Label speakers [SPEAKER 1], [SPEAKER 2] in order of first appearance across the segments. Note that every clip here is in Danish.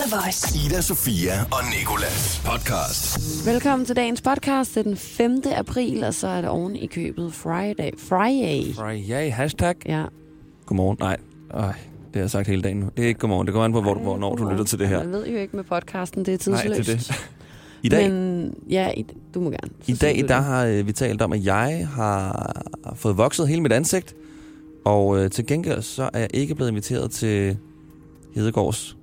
[SPEAKER 1] The Voice.
[SPEAKER 2] Ida, Sofia og Nikolas podcast.
[SPEAKER 3] Velkommen til dagens podcast. Det er den 5. april, og så er det oven i købet Friday. Friday.
[SPEAKER 4] Friday, hashtag.
[SPEAKER 3] Ja.
[SPEAKER 4] Godmorgen. Nej, Øj, det har jeg sagt hele dagen nu. Det er ikke godmorgen. Det kommer an på, hvor, hvornår du lytter til det her.
[SPEAKER 3] Jeg ved jo ikke med podcasten, det er
[SPEAKER 4] Nej,
[SPEAKER 3] tidsløst.
[SPEAKER 4] det er det. I dag, Men,
[SPEAKER 3] Men ja, i, du må gerne. Så
[SPEAKER 4] i
[SPEAKER 3] siger
[SPEAKER 4] dag
[SPEAKER 3] du
[SPEAKER 4] der
[SPEAKER 3] det.
[SPEAKER 4] har øh, vi talt om, at jeg har fået vokset hele mit ansigt. Og øh, til gengæld så er jeg ikke blevet inviteret til Hedegaards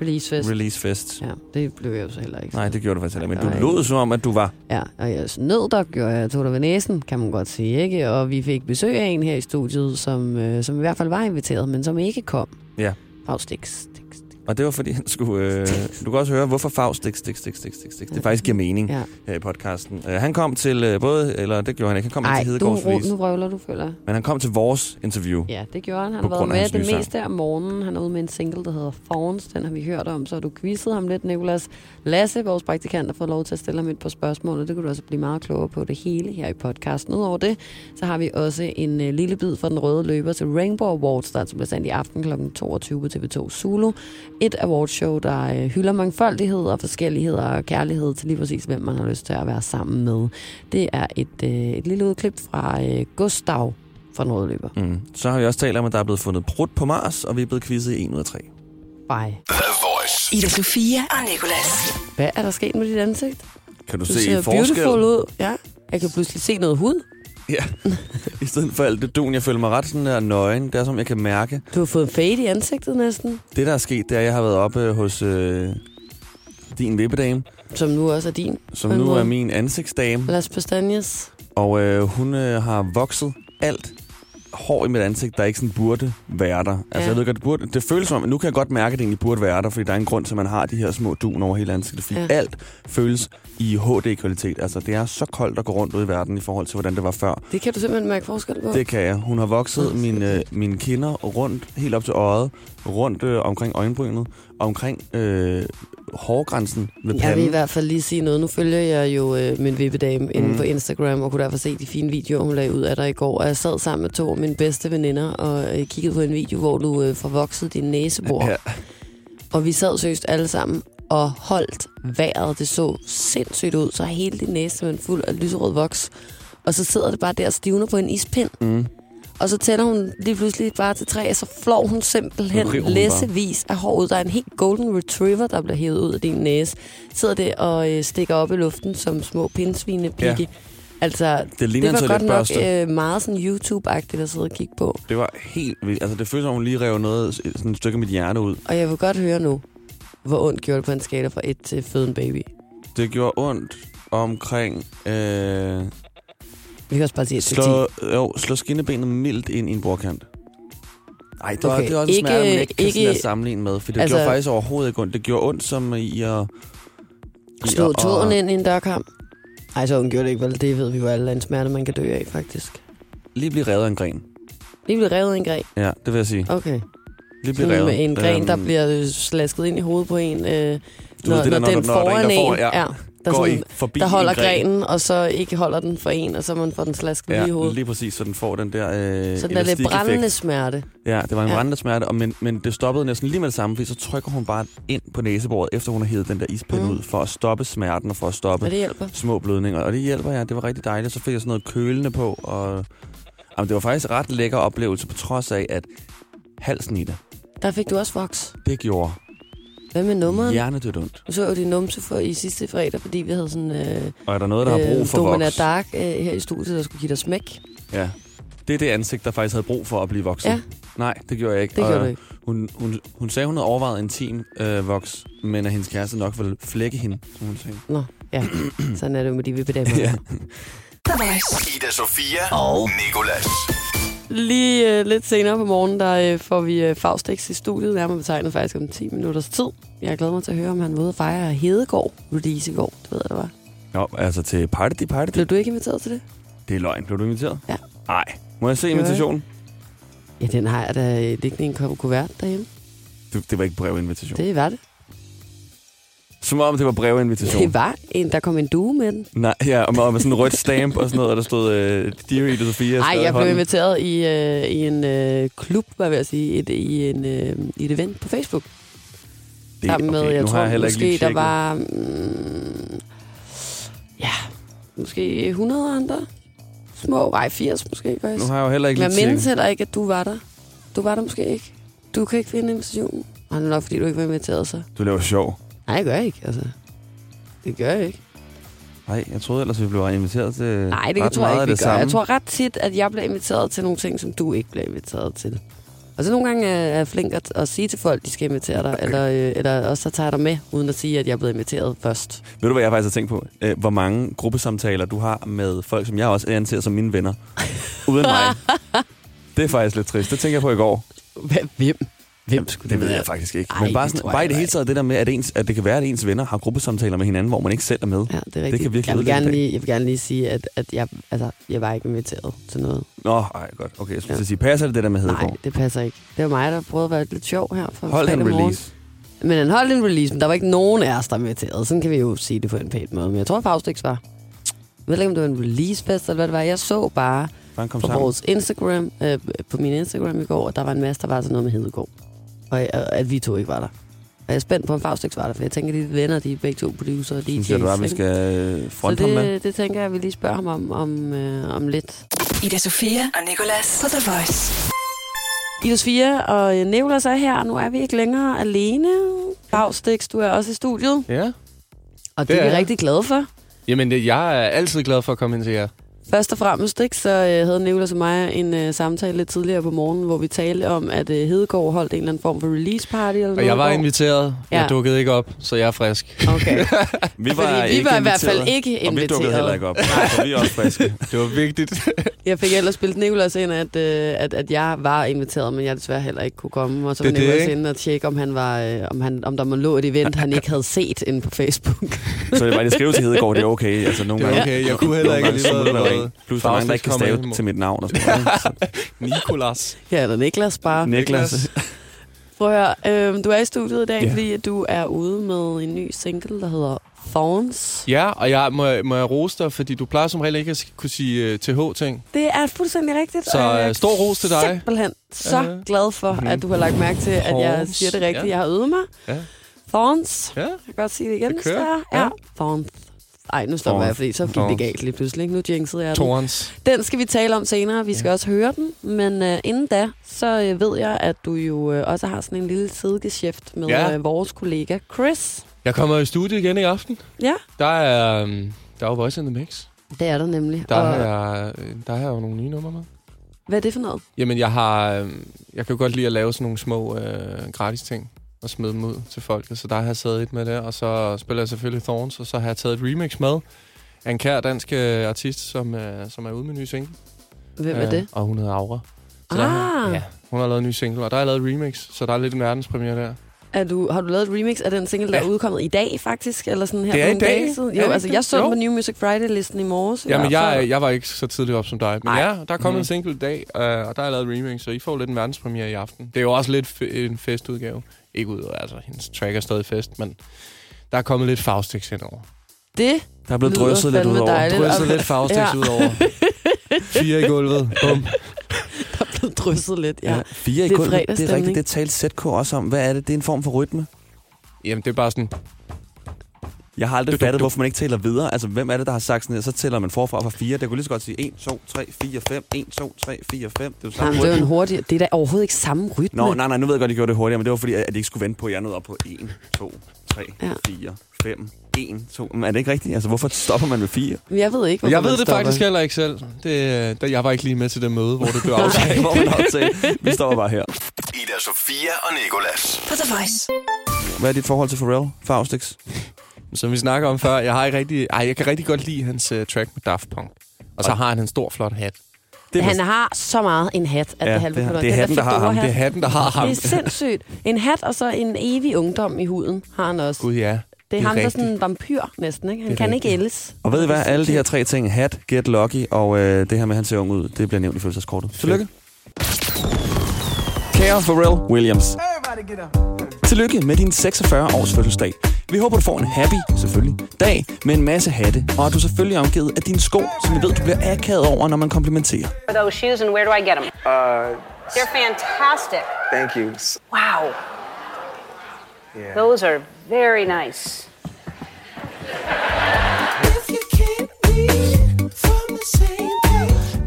[SPEAKER 3] Release fest.
[SPEAKER 4] Release Fest.
[SPEAKER 3] Ja, det blev jeg jo så heller ikke.
[SPEAKER 4] Nej, det gjorde du faktisk heller ikke.
[SPEAKER 3] Nej,
[SPEAKER 4] Men du
[SPEAKER 3] der var
[SPEAKER 4] lød som om, at du var...
[SPEAKER 3] Ja, og jeg snød der, gjorde jeg, jeg tog dig ved næsen, kan man godt sige, ikke? Og vi fik besøg af en her i studiet, som, øh, som i hvert fald var inviteret, men som ikke kom.
[SPEAKER 4] Ja.
[SPEAKER 3] Faust Stix. Stix.
[SPEAKER 4] Og det var fordi, han skulle... Øh, du kan også høre, hvorfor Faust stik, stik, stik, stik, stik, stik. Det faktisk giver mening
[SPEAKER 3] Ja.
[SPEAKER 4] her i podcasten. Øh, han kom til øh, både... Eller det gjorde han ikke. Han kom ikke
[SPEAKER 3] Ej,
[SPEAKER 4] til
[SPEAKER 3] du,
[SPEAKER 4] Hedegaards
[SPEAKER 3] ro-
[SPEAKER 4] Release.
[SPEAKER 3] nu røvler du, føler jeg.
[SPEAKER 4] Men han kom til vores interview.
[SPEAKER 3] Ja, det gjorde han. Han
[SPEAKER 4] På
[SPEAKER 3] har været
[SPEAKER 4] grund af
[SPEAKER 3] med
[SPEAKER 4] hans nye
[SPEAKER 3] det
[SPEAKER 4] sang.
[SPEAKER 3] meste af morgenen. Han er ude med en single, der hedder Fawns. Den har vi hørt om, så har du quizzede ham lidt, Nicolas. Lasse, vores praktikant, har fået lov til at stille ham et par spørgsmål, og det kunne du altså blive meget klogere på det hele her i podcasten. Udover det, så har vi også en øh, lille bid fra den røde løber til Rainbow Awards, der altså bliver sendt i aften kl. 22 på TV2 Zulu. Et awardshow, der øh, hylder mangfoldighed og forskellighed og kærlighed til lige præcis, hvem man har lyst til at være sammen med. Det er et, øh, et lille udklip fra øh, Gustav fra den røde løber.
[SPEAKER 4] Mm. Så har vi også talt om, at der er blevet fundet brudt på Mars, og vi er blevet quizzet i 1 ud af 3.
[SPEAKER 3] Bye.
[SPEAKER 2] The Voice.
[SPEAKER 1] Ida Sofia og Nikolas.
[SPEAKER 3] Hvad er der sket med dit ansigt?
[SPEAKER 4] Kan du,
[SPEAKER 3] Du
[SPEAKER 4] se
[SPEAKER 3] ser
[SPEAKER 4] forskel?
[SPEAKER 3] beautiful ud. Ja. Jeg kan pludselig se noget hud.
[SPEAKER 4] Ja. I stedet for alt det dun, jeg føler mig ret sådan der nøgen. Det er som, jeg kan mærke.
[SPEAKER 3] Du har fået en fade i ansigtet næsten,
[SPEAKER 4] Det, der er sket, det er, at jeg har været oppe hos øh, din vippedame,
[SPEAKER 3] som nu også er din.
[SPEAKER 4] som
[SPEAKER 3] på en
[SPEAKER 4] nu
[SPEAKER 3] måde.
[SPEAKER 4] er min ansigtsdame.
[SPEAKER 3] Las Pastanjes.
[SPEAKER 4] Og øh, hun øh, har vokset alt hår i mit ansigt, der ikke sådan burde være der. Altså,
[SPEAKER 3] Ja.
[SPEAKER 4] ja. jeg ved godt, det, burde, det føles som, at nu kan jeg godt mærke, at det egentlig burde være der, fordi der er en grund til, at man har de her små dun over hele ansigtet, fordi
[SPEAKER 3] Ja.
[SPEAKER 4] ja. alt føles i HD-kvalitet. Altså, det er så koldt at gå rundt ude i verden i forhold til, hvordan det var før.
[SPEAKER 3] Det kan du simpelthen mærke forskel på.
[SPEAKER 4] Det kan jeg. Hun har vokset
[SPEAKER 3] Nå,
[SPEAKER 4] mine, øh,
[SPEAKER 3] fedt.
[SPEAKER 4] mine kinder rundt, helt op til øjet, rundt øh, omkring øjenbrynet, omkring øh, hårgrænsen ved
[SPEAKER 3] jeg vil i
[SPEAKER 4] panden.
[SPEAKER 3] hvert fald lige sige noget. Nu følger jeg jo øh, min vippedame mm. inde
[SPEAKER 4] Mm.
[SPEAKER 3] på Instagram, og kunne derfor se de fine videoer, hun lagde ud af dig i går. Og jeg sad sammen med to af mine bedste veninder og øh, kiggede på en video, hvor du øh, forvoksede din næsebor.
[SPEAKER 4] Ja.
[SPEAKER 3] Og vi sad seriøst alle sammen og holdt vejret. Det så sindssygt ud, så hele din næse var fuld af lyserød voks. Og så sidder det bare der og stivner på en ispind.
[SPEAKER 4] Mm.
[SPEAKER 3] Og så tænder hun lige pludselig bare til tre, og så flår hun simpelthen
[SPEAKER 4] Så river hun bare.
[SPEAKER 3] læssevis af hår ud. Der er en helt golden retriever, der bliver hævet ud af din næse. Sidder det og øh, stikker op i luften som små pindsvinepigge. Ja.
[SPEAKER 4] Ja.
[SPEAKER 3] Altså,
[SPEAKER 4] Det ligner
[SPEAKER 3] det var
[SPEAKER 4] en
[SPEAKER 3] godt nok
[SPEAKER 4] toiletbørste.
[SPEAKER 3] øh, meget sådan YouTube-agtigt at sidde og kigge på.
[SPEAKER 4] Det var helt vildt. Altså, det føles som, hun lige rev noget, sådan et stykke af mit hjerte ud.
[SPEAKER 3] Og jeg vil godt høre nu, hvor ondt gjorde det på en skala fra 1 til føden baby.
[SPEAKER 4] Det gjorde ondt omkring... Øh,
[SPEAKER 3] Vi kan også bare sige 1 til 10.
[SPEAKER 4] slå, jo, slå skinnebenet mildt ind i en bordkant. Ej, det, okay.
[SPEAKER 3] Okay,
[SPEAKER 4] var, det var en ikke,
[SPEAKER 3] ikke-
[SPEAKER 4] smerte, man ikke kan
[SPEAKER 3] ikke-
[SPEAKER 4] sådan der sammenligne med, for det altså,
[SPEAKER 3] Altså-
[SPEAKER 4] gjorde faktisk overhovedet ikke ondt. Det gjorde ondt som i at... i
[SPEAKER 3] Slå
[SPEAKER 4] at-
[SPEAKER 3] tåren ind i en dørkamp. Nej, så hun gjorde det ikke, vel? Det ved vi jo alle er en smerte, man kan dø af, faktisk.
[SPEAKER 4] Lige blive revet af en gren.
[SPEAKER 3] Lige blev revet i en gren.
[SPEAKER 4] Ja, det vil jeg sige.
[SPEAKER 3] Okay.
[SPEAKER 4] Lige blive
[SPEAKER 3] Sådan
[SPEAKER 4] revet.
[SPEAKER 3] med en gren, der
[SPEAKER 4] Øhm,
[SPEAKER 3] bliver øh, slasket ind i hovedet på en, øh, når,
[SPEAKER 4] du ved det der, når,
[SPEAKER 3] den
[SPEAKER 4] der- når der er en,
[SPEAKER 3] foran
[SPEAKER 4] der får,
[SPEAKER 3] en,
[SPEAKER 4] ja,
[SPEAKER 3] ja, der,
[SPEAKER 4] går
[SPEAKER 3] sådan,
[SPEAKER 4] i, forbi
[SPEAKER 3] der holder
[SPEAKER 4] en gren.
[SPEAKER 3] grenen, og så ikke holder den for en, og så man får den slasket lige i
[SPEAKER 4] Ja,
[SPEAKER 3] hovedet.
[SPEAKER 4] lige præcis, så den får den der øh,
[SPEAKER 3] Så den er lidt
[SPEAKER 4] elastikeffekt.
[SPEAKER 3] brændende smerte.
[SPEAKER 4] Ja, det var en
[SPEAKER 3] Ja.
[SPEAKER 4] ja. brændende smerte, og men, men det stoppede næsten lige med det samme, fordi så trykker hun bare ind på næsebordet, efter hun har hævet den der ispind
[SPEAKER 3] Mm.
[SPEAKER 4] mm. ud, for at stoppe smerten og for at stoppe
[SPEAKER 3] Og det hjælper.
[SPEAKER 4] små blødninger. Og det hjælper, ja. Det var rigtig dejligt. Så fik jeg sådan noget kølende på, og jamen, det var faktisk en ret lækker oplevelse, på trods af, at halsen i det,
[SPEAKER 3] Der fik du også voks.
[SPEAKER 4] det gjorde
[SPEAKER 3] Hvad med nummeren?
[SPEAKER 4] hjernedødt ondt.
[SPEAKER 3] Du så jo din numse for, i sidste fredag, fordi vi havde sådan øh,
[SPEAKER 4] Og er der noget, der har brug for
[SPEAKER 3] Domina
[SPEAKER 4] voks?
[SPEAKER 3] Dark øh, her i studiet, der skulle give dig smæk.
[SPEAKER 4] Ja. Det er det ansigt, der faktisk havde brug for at blive voksen.
[SPEAKER 3] Ja.
[SPEAKER 4] Nej, det gjorde jeg ikke.
[SPEAKER 3] Det
[SPEAKER 4] og
[SPEAKER 3] gjorde du ikke.
[SPEAKER 4] Hun, hun, hun sagde, hun havde overvejet en team øh, voks, men at hendes kæreste nok ville flække hende, som hun sagde.
[SPEAKER 3] Nå, ja. Sådan er det jo med de vippedammer.
[SPEAKER 4] Ja.
[SPEAKER 1] The Voice.
[SPEAKER 2] Ida, Sofia og Nikolas.
[SPEAKER 3] Lige øh, lidt senere på morgenen, der øh, får vi øh, Faustix i studiet, nærmere betegnet faktisk om 10 minutters tid. Jeg glæder mig til at høre, om han var ude at fejre Hedegård release i går. Det ved jeg, det var.
[SPEAKER 4] Nå, altså til party, party.
[SPEAKER 3] Blev du ikke inviteret til det?
[SPEAKER 4] Det er løgn. Blev du inviteret?
[SPEAKER 3] Ja.
[SPEAKER 4] Nej. Må jeg se
[SPEAKER 3] Det var jeg.
[SPEAKER 4] invitationen?
[SPEAKER 3] Ja, den har jeg da øh, liggende i en kop kuvert derhjemme.
[SPEAKER 4] Du, det var ikke brevinvitation.
[SPEAKER 3] Det var det.
[SPEAKER 4] Som om det var brevinvitation.
[SPEAKER 3] Det var en, der kom en due med den.
[SPEAKER 4] Nej, ja, og med, og med sådan en rødt stamp og sådan noget, og der stod øh, Dear Ida Sofia.
[SPEAKER 3] Nej,
[SPEAKER 4] skrevet i
[SPEAKER 3] jeg blev
[SPEAKER 4] hånden.
[SPEAKER 3] inviteret i, øh, i en øh, klub, hvad vil jeg sige, et, i, en, øh, i et event på Facebook. sammen med,
[SPEAKER 4] okay,
[SPEAKER 3] jeg
[SPEAKER 4] nu
[SPEAKER 3] tror
[SPEAKER 4] har jeg heller ikke
[SPEAKER 3] måske,
[SPEAKER 4] lige
[SPEAKER 3] der
[SPEAKER 4] tjekket.
[SPEAKER 3] var... Mm, ja, måske 100 andre. Små, ej, 80 måske faktisk.
[SPEAKER 4] Nu har jeg jo heller ikke
[SPEAKER 3] Men
[SPEAKER 4] lige
[SPEAKER 3] jeg mindes
[SPEAKER 4] tjekket.
[SPEAKER 3] heller ikke, at du var der. Du var der måske ikke. Du kan ikke finde invitationen. Og det er nok, fordi du ikke var inviteret, så.
[SPEAKER 4] Du laver sjov.
[SPEAKER 3] Nej, det gør jeg ikke, altså. Det gør jeg ikke.
[SPEAKER 4] Nej, jeg troede ellers, vi blev inviteret til
[SPEAKER 3] Nej, det
[SPEAKER 4] ret
[SPEAKER 3] tror
[SPEAKER 4] meget
[SPEAKER 3] jeg ikke,
[SPEAKER 4] af
[SPEAKER 3] vi
[SPEAKER 4] det
[SPEAKER 3] gør.
[SPEAKER 4] samme.
[SPEAKER 3] Jeg tror ret tit, at jeg bliver inviteret til nogle ting, som du ikke bliver inviteret til. Og så nogle gange er jeg flink at, at sige til folk, de skal invitere dig, eller, øh, eller også så tager jeg dig med, uden at sige, at jeg er blevet inviteret først.
[SPEAKER 4] Ved du, hvad jeg faktisk har tænkt på? Øh, Hvor mange gruppesamtaler du har med folk, som jeg også anser som mine venner. Uden mig. Det er faktisk lidt trist. Det tænker jeg på i går.
[SPEAKER 3] Hvad- Hvem? Hvem skulle
[SPEAKER 4] Det ved
[SPEAKER 3] være?
[SPEAKER 4] jeg faktisk ikke.
[SPEAKER 3] Ej,
[SPEAKER 4] Men bare,
[SPEAKER 3] det
[SPEAKER 4] sådan,
[SPEAKER 3] tror jeg
[SPEAKER 4] bare i det
[SPEAKER 3] heller
[SPEAKER 4] hele taget det der med, at, ens, at det kan være, at ens venner har gruppesamtaler med hinanden, hvor man ikke selv er med.
[SPEAKER 3] Ja, det er rigtigt.
[SPEAKER 4] kan virkelig
[SPEAKER 3] jeg, vil
[SPEAKER 4] ødelægge
[SPEAKER 3] gerne
[SPEAKER 4] en dag.
[SPEAKER 3] lige, jeg vil gerne lige sige, at, at jeg, altså, jeg var ikke inviteret til noget.
[SPEAKER 4] Nå, ej, godt. Okay, jeg skulle
[SPEAKER 3] Ja.
[SPEAKER 4] ja. sige, passer det det der med Hedegaard?
[SPEAKER 3] Nej, det passer ikke. Det var mig, der prøvede at være lidt sjov her for
[SPEAKER 4] Hold en
[SPEAKER 3] fredag morgen.
[SPEAKER 4] release.
[SPEAKER 3] Men han holdt en release, men der var ikke nogen af os, der inviterede. Sådan kan vi jo sige det på en pæn måde. Men jeg tror, Faustix var. Jeg ved ikke, om det var en releasefest eller hvad det var. Jeg så bare
[SPEAKER 4] Bare kom
[SPEAKER 3] på
[SPEAKER 4] sammen.
[SPEAKER 3] vores Instagram, øh, på min Instagram i går, at der var en masse, der var sådan noget med Hedegaard. Og øh, at vi to ikke var der. Og jeg er spændt på, om Faustix var der, for jeg tænker, at de venner, de er begge to producer og DJ's.
[SPEAKER 4] Synes jeg, det var, vi
[SPEAKER 3] ikke?
[SPEAKER 4] skal øh,
[SPEAKER 3] Så
[SPEAKER 4] fronte ham med.
[SPEAKER 3] det, det tænker jeg, at vi lige spørger ham om, om, øh, om lidt.
[SPEAKER 1] Ida Sofia og Nicolas på The Voice.
[SPEAKER 3] Ida Sofia og øh, Nicolas er her, og nu er vi ikke længere alene. Faustix, du er også i studiet,
[SPEAKER 5] Ja.
[SPEAKER 3] og det,
[SPEAKER 5] Det
[SPEAKER 3] det er
[SPEAKER 5] er
[SPEAKER 3] vi
[SPEAKER 5] jeg.
[SPEAKER 3] rigtig glade for.
[SPEAKER 5] Jamen, det- jeg er altid glad for at komme hen til jer.
[SPEAKER 3] Først og fremmest, ikke, så øh, havde Nicolas og mig en øh, samtale lidt tidligere på morgenen, hvor vi talte om, at øh, Hedegaard holdt en eller anden form for release party. Eller
[SPEAKER 5] Og
[SPEAKER 3] noget
[SPEAKER 5] jeg var
[SPEAKER 3] i går.
[SPEAKER 5] inviteret.
[SPEAKER 3] Ja.
[SPEAKER 5] Jeg dukkede ikke op, så jeg er frisk.
[SPEAKER 3] Okay,
[SPEAKER 4] Vi
[SPEAKER 3] fordi vi
[SPEAKER 4] ikke
[SPEAKER 3] var i hvert fald
[SPEAKER 4] inviteret.
[SPEAKER 3] ikke
[SPEAKER 4] Og vi dukkede heller
[SPEAKER 3] inviteret.
[SPEAKER 4] ikke op. Nej, så vi er også friske.
[SPEAKER 5] Det var vigtigt.
[SPEAKER 3] Jeg fik ellers spillet Nicolas ind, at, øh, at, at jeg var inviteret, men jeg desværre heller ikke kunne komme. Og så var
[SPEAKER 5] Det er det,
[SPEAKER 3] Nicolas
[SPEAKER 5] ikke?
[SPEAKER 3] inde og tjekke, om, han var, øh, om, han, om der må lå et event, han ikke havde set inde på Facebook.
[SPEAKER 4] Så det var det skrive til Hedegaard, det er okay. Altså, nogle
[SPEAKER 5] Det er
[SPEAKER 4] gange,
[SPEAKER 5] okay. Jeg kunne heller
[SPEAKER 4] nogle
[SPEAKER 5] ikke
[SPEAKER 4] gange, så må
[SPEAKER 5] alligevel
[SPEAKER 4] det være
[SPEAKER 5] noget.
[SPEAKER 4] rent. Plus, der er mange, der ikke kan
[SPEAKER 5] Faustix
[SPEAKER 4] stave
[SPEAKER 5] kommer
[SPEAKER 4] til mit navn. Og sådan noget. Så
[SPEAKER 5] Nikolas.
[SPEAKER 3] Ja, eller Niklas bare.
[SPEAKER 4] Niklas.
[SPEAKER 3] Prøv at høre, øhm, du er i studiet i dag, yeah.
[SPEAKER 4] Ja.
[SPEAKER 3] fordi at du er ude med en ny single, der hedder Thorns.
[SPEAKER 5] Ja, og jeg, må, jeg- må jeg rose dig, fordi du plejer som regel ikke at sk- kunne sige uh, TH-ting.
[SPEAKER 3] Det er fuldstændig rigtigt.
[SPEAKER 5] Så,
[SPEAKER 3] og jeg
[SPEAKER 5] øh, stor ros til dig.
[SPEAKER 3] er Simpelthen så
[SPEAKER 5] Ja.
[SPEAKER 3] glad for,
[SPEAKER 5] Mhm.
[SPEAKER 3] at du har lagt mærke til, at jeg
[SPEAKER 5] Thorns.
[SPEAKER 3] siger det rigtigt.
[SPEAKER 5] Ja.
[SPEAKER 3] Jeg har øvet mig.
[SPEAKER 5] Ja.
[SPEAKER 3] Thorns.
[SPEAKER 5] Ja,
[SPEAKER 3] Jeg kan godt sige det igen.
[SPEAKER 5] Det kører.
[SPEAKER 3] hvis der er. Ja.
[SPEAKER 5] Ja.
[SPEAKER 3] Thorns. Ej, nu stopper jeg,
[SPEAKER 4] Thorns.
[SPEAKER 3] fordi så gik det
[SPEAKER 5] Thorns.
[SPEAKER 3] galt lige pludselig. ikke? Nu jinxede jeg den.
[SPEAKER 5] Torrens.
[SPEAKER 3] Den skal vi tale om senere. Vi skal også høre den. Men øh, inden da, så øh, ved jeg, at du jo øh, også har sådan en lille sidegeschæft med
[SPEAKER 5] Ja.
[SPEAKER 3] øh, vores kollega Chris.
[SPEAKER 5] Jeg kommer i studiet igen i aften.
[SPEAKER 3] Ja.
[SPEAKER 5] Der er, øhm, der er jo Voice in the Mix.
[SPEAKER 3] Det er der nemlig.
[SPEAKER 5] Der,
[SPEAKER 3] og,
[SPEAKER 5] har, jeg, øh, der har jeg jo nogle nye numre med.
[SPEAKER 3] Hvad er det for noget?
[SPEAKER 5] Jamen, jeg har... øhm, Jeg kan jo godt lide at lave sådan nogle små øh, gratis ting og smide dem ud til folk. Så der har jeg taget et med der, og så spiller jeg selvfølgelig Thorns, og så har jeg taget et remix med af en kær dansk øh, artist, som, øh, som er ude med en ny single.
[SPEAKER 3] Hvem er
[SPEAKER 5] Øh,
[SPEAKER 3] det?
[SPEAKER 5] Og hun hedder Aura. Så der har-
[SPEAKER 3] Ah,
[SPEAKER 5] ja, hun har lavet en ny single, og der har jeg lavet et remix, så der er lidt en verdenspremiere der.
[SPEAKER 3] Er du, har du lavet et remix af den single, der
[SPEAKER 5] Ja.
[SPEAKER 3] er udkommet i dag faktisk? Eller sådan her
[SPEAKER 5] Det er
[SPEAKER 3] for
[SPEAKER 5] i
[SPEAKER 3] nogle dage
[SPEAKER 5] dag.
[SPEAKER 3] siden?
[SPEAKER 5] Er
[SPEAKER 3] Jo,
[SPEAKER 5] det
[SPEAKER 3] altså
[SPEAKER 5] ikke
[SPEAKER 3] jeg
[SPEAKER 5] det?
[SPEAKER 3] så den
[SPEAKER 5] Jo.
[SPEAKER 3] på New Music Friday-listen i morges. i
[SPEAKER 5] Jamen,
[SPEAKER 3] hvert fald.
[SPEAKER 5] jeg, jeg var ikke så tidligt op som dig, men
[SPEAKER 3] Nej.
[SPEAKER 5] Ej. ja, der er kommet
[SPEAKER 4] Mhm.
[SPEAKER 5] mm. en single i dag, øh, og der er lavet et remix, så I får lidt en verdenspremiere i aften. Det er jo også lidt fe- en festudgave. Ikke ud, altså, hendes track er stadig fest, men der er kommet lidt Faustix indover.
[SPEAKER 3] Det?
[SPEAKER 4] Der er blevet
[SPEAKER 3] Lyder
[SPEAKER 4] drysset lidt
[SPEAKER 3] fandme
[SPEAKER 4] ud over.
[SPEAKER 3] dejligt.
[SPEAKER 5] Drysset lidt Faustix
[SPEAKER 3] Ja.
[SPEAKER 5] ja. ud over. Fire i gulvet. Bum.
[SPEAKER 3] Der er blevet drysset lidt, ja.
[SPEAKER 4] Ja. Fire i
[SPEAKER 3] Det er
[SPEAKER 4] gulvet, det er
[SPEAKER 3] fredagsstemning.
[SPEAKER 4] rigtigt. Det talte ZK også om. Hvad er det? Det er en form for rytme.
[SPEAKER 5] Jamen, det er bare sådan,
[SPEAKER 4] Jeg har aldrig
[SPEAKER 5] Du, du,
[SPEAKER 4] fattet,
[SPEAKER 5] du.
[SPEAKER 4] hvorfor man ikke tæller videre. Altså, hvem er det, der har sagt sådan her? Så tæller man forfra fra fire. Det kunne lige så godt sige 1, 2, 3, 4, 5. 1, 2, 3, 4, 5. Det er jo
[SPEAKER 3] Jamen,
[SPEAKER 4] samme
[SPEAKER 3] det er jo
[SPEAKER 4] rytme.
[SPEAKER 3] en hurtig... Det er da overhovedet ikke samme rytme.
[SPEAKER 4] Nå, nej, nej, nu ved jeg godt, at I gjorde det hurtigere, men det var fordi, at I ikke skulle vente på, at jeg nåede op på 1, 2, 3,
[SPEAKER 3] Ja.
[SPEAKER 4] 4, 5, 1, 2. Men er det ikke rigtigt? Altså, hvorfor stopper man ved 4?
[SPEAKER 3] Men Jeg ved ikke, hvorfor
[SPEAKER 5] jeg ved
[SPEAKER 3] man
[SPEAKER 5] det
[SPEAKER 3] stopper.
[SPEAKER 5] faktisk heller ikke selv. Det, øh, der, jeg var ikke lige med til det møde, hvor det blev aftalt.
[SPEAKER 4] Hvor man aftalt. Vi stopper bare her.
[SPEAKER 2] Ida Sofia og Nicolas.
[SPEAKER 1] På The Voice.
[SPEAKER 4] Hvad er dit forhold til Pharrell, Faustix?
[SPEAKER 5] Som vi snakker om før, jeg har ikke rigtig... Ej, jeg kan rigtig godt lide hans uh, track med Daft Punk. Og så har han en stor, flot hat.
[SPEAKER 4] Det
[SPEAKER 3] Han har så meget en hat, at
[SPEAKER 4] Ja,
[SPEAKER 3] det halve
[SPEAKER 4] det er-
[SPEAKER 3] på
[SPEAKER 4] det er
[SPEAKER 3] Den
[SPEAKER 4] hatten, der har ham.
[SPEAKER 3] fedora-hat.
[SPEAKER 5] Det er hatten, der har ham.
[SPEAKER 3] Det er sindssygt. En hat og så en evig ungdom i huden har han også.
[SPEAKER 5] Gud, ja.
[SPEAKER 3] det er ham, der er
[SPEAKER 5] rigtigt.
[SPEAKER 3] sådan en vampyr næsten, ikke? Han
[SPEAKER 5] Det er
[SPEAKER 3] kan ikke
[SPEAKER 5] rigtigt.
[SPEAKER 3] ældes.
[SPEAKER 4] Og ved I hvad? Alle de her tre ting, hat, get lucky og øh, det her med, at han ser ung ud, det bliver nævnt i fødselskortet. Tillykke. Kære Pharrell Williams. Tillykke med din 46 års fødselsdag. Vi håber, du får en happy, selvfølgelig, dag med en masse hatte, og at du selvfølgelig er omgivet af dine sko, som vi ved, du bliver akavet over, når man komplimenterer.
[SPEAKER 6] for those shoes and where do I get them? Uh, They're fantastic.
[SPEAKER 7] Thank you. S-
[SPEAKER 6] Wow. Those are very nice.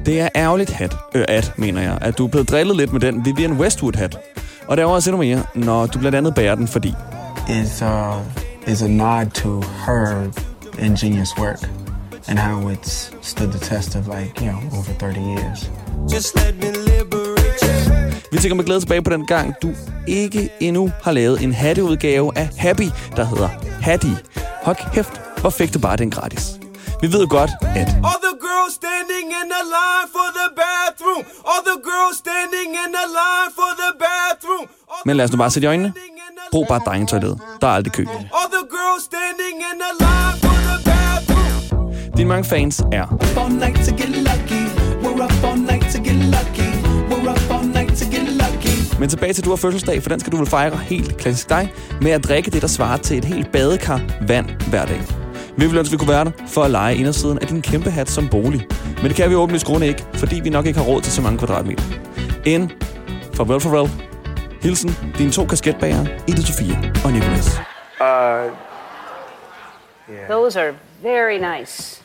[SPEAKER 4] Det er ærgerligt hat, øh, at, mener jeg, at du er blevet drillet lidt med den Vivian Westwood-hat. Og der er også endnu mere, når du blandt andet bærer den, fordi
[SPEAKER 7] is uh, is a nod to her ingenious work and how it's stood the test of like you know over 30 years.
[SPEAKER 4] Vi tænker med glæde tilbage på den gang, du ikke endnu har lavet en hatteudgave af Happy, der hedder Hattie. Hold kæft, hvor fik du bare den gratis. Vi ved jo godt, at
[SPEAKER 8] All the girls standing in the line for the bathroom. All the girls standing in the line for the bathroom. All
[SPEAKER 4] Men lad os nu bare sætte i øjnene.
[SPEAKER 8] standing in the
[SPEAKER 4] brug bare drengetøjlet. Der er aldrig kø.
[SPEAKER 8] line- All the girls standing in the line for the bathroom.
[SPEAKER 4] Dine mange fans er Men tilbage til, at du har fødselsdag, for den skal du vel fejre helt klassisk dig, med at drikke det, der svarer til et helt badekar vand hver dag. Vi ville ønske, vi kunne være der for at lege indersiden af din kæmpe hat som bolig. Men det kan vi åbenlyst grunde ikke, fordi vi nok ikke har råd til så mange kvadratmeter. End farvel farvel. Hilsen, dine to kasketbager, Ida Sofia og Nicolas.
[SPEAKER 6] Those are very nice.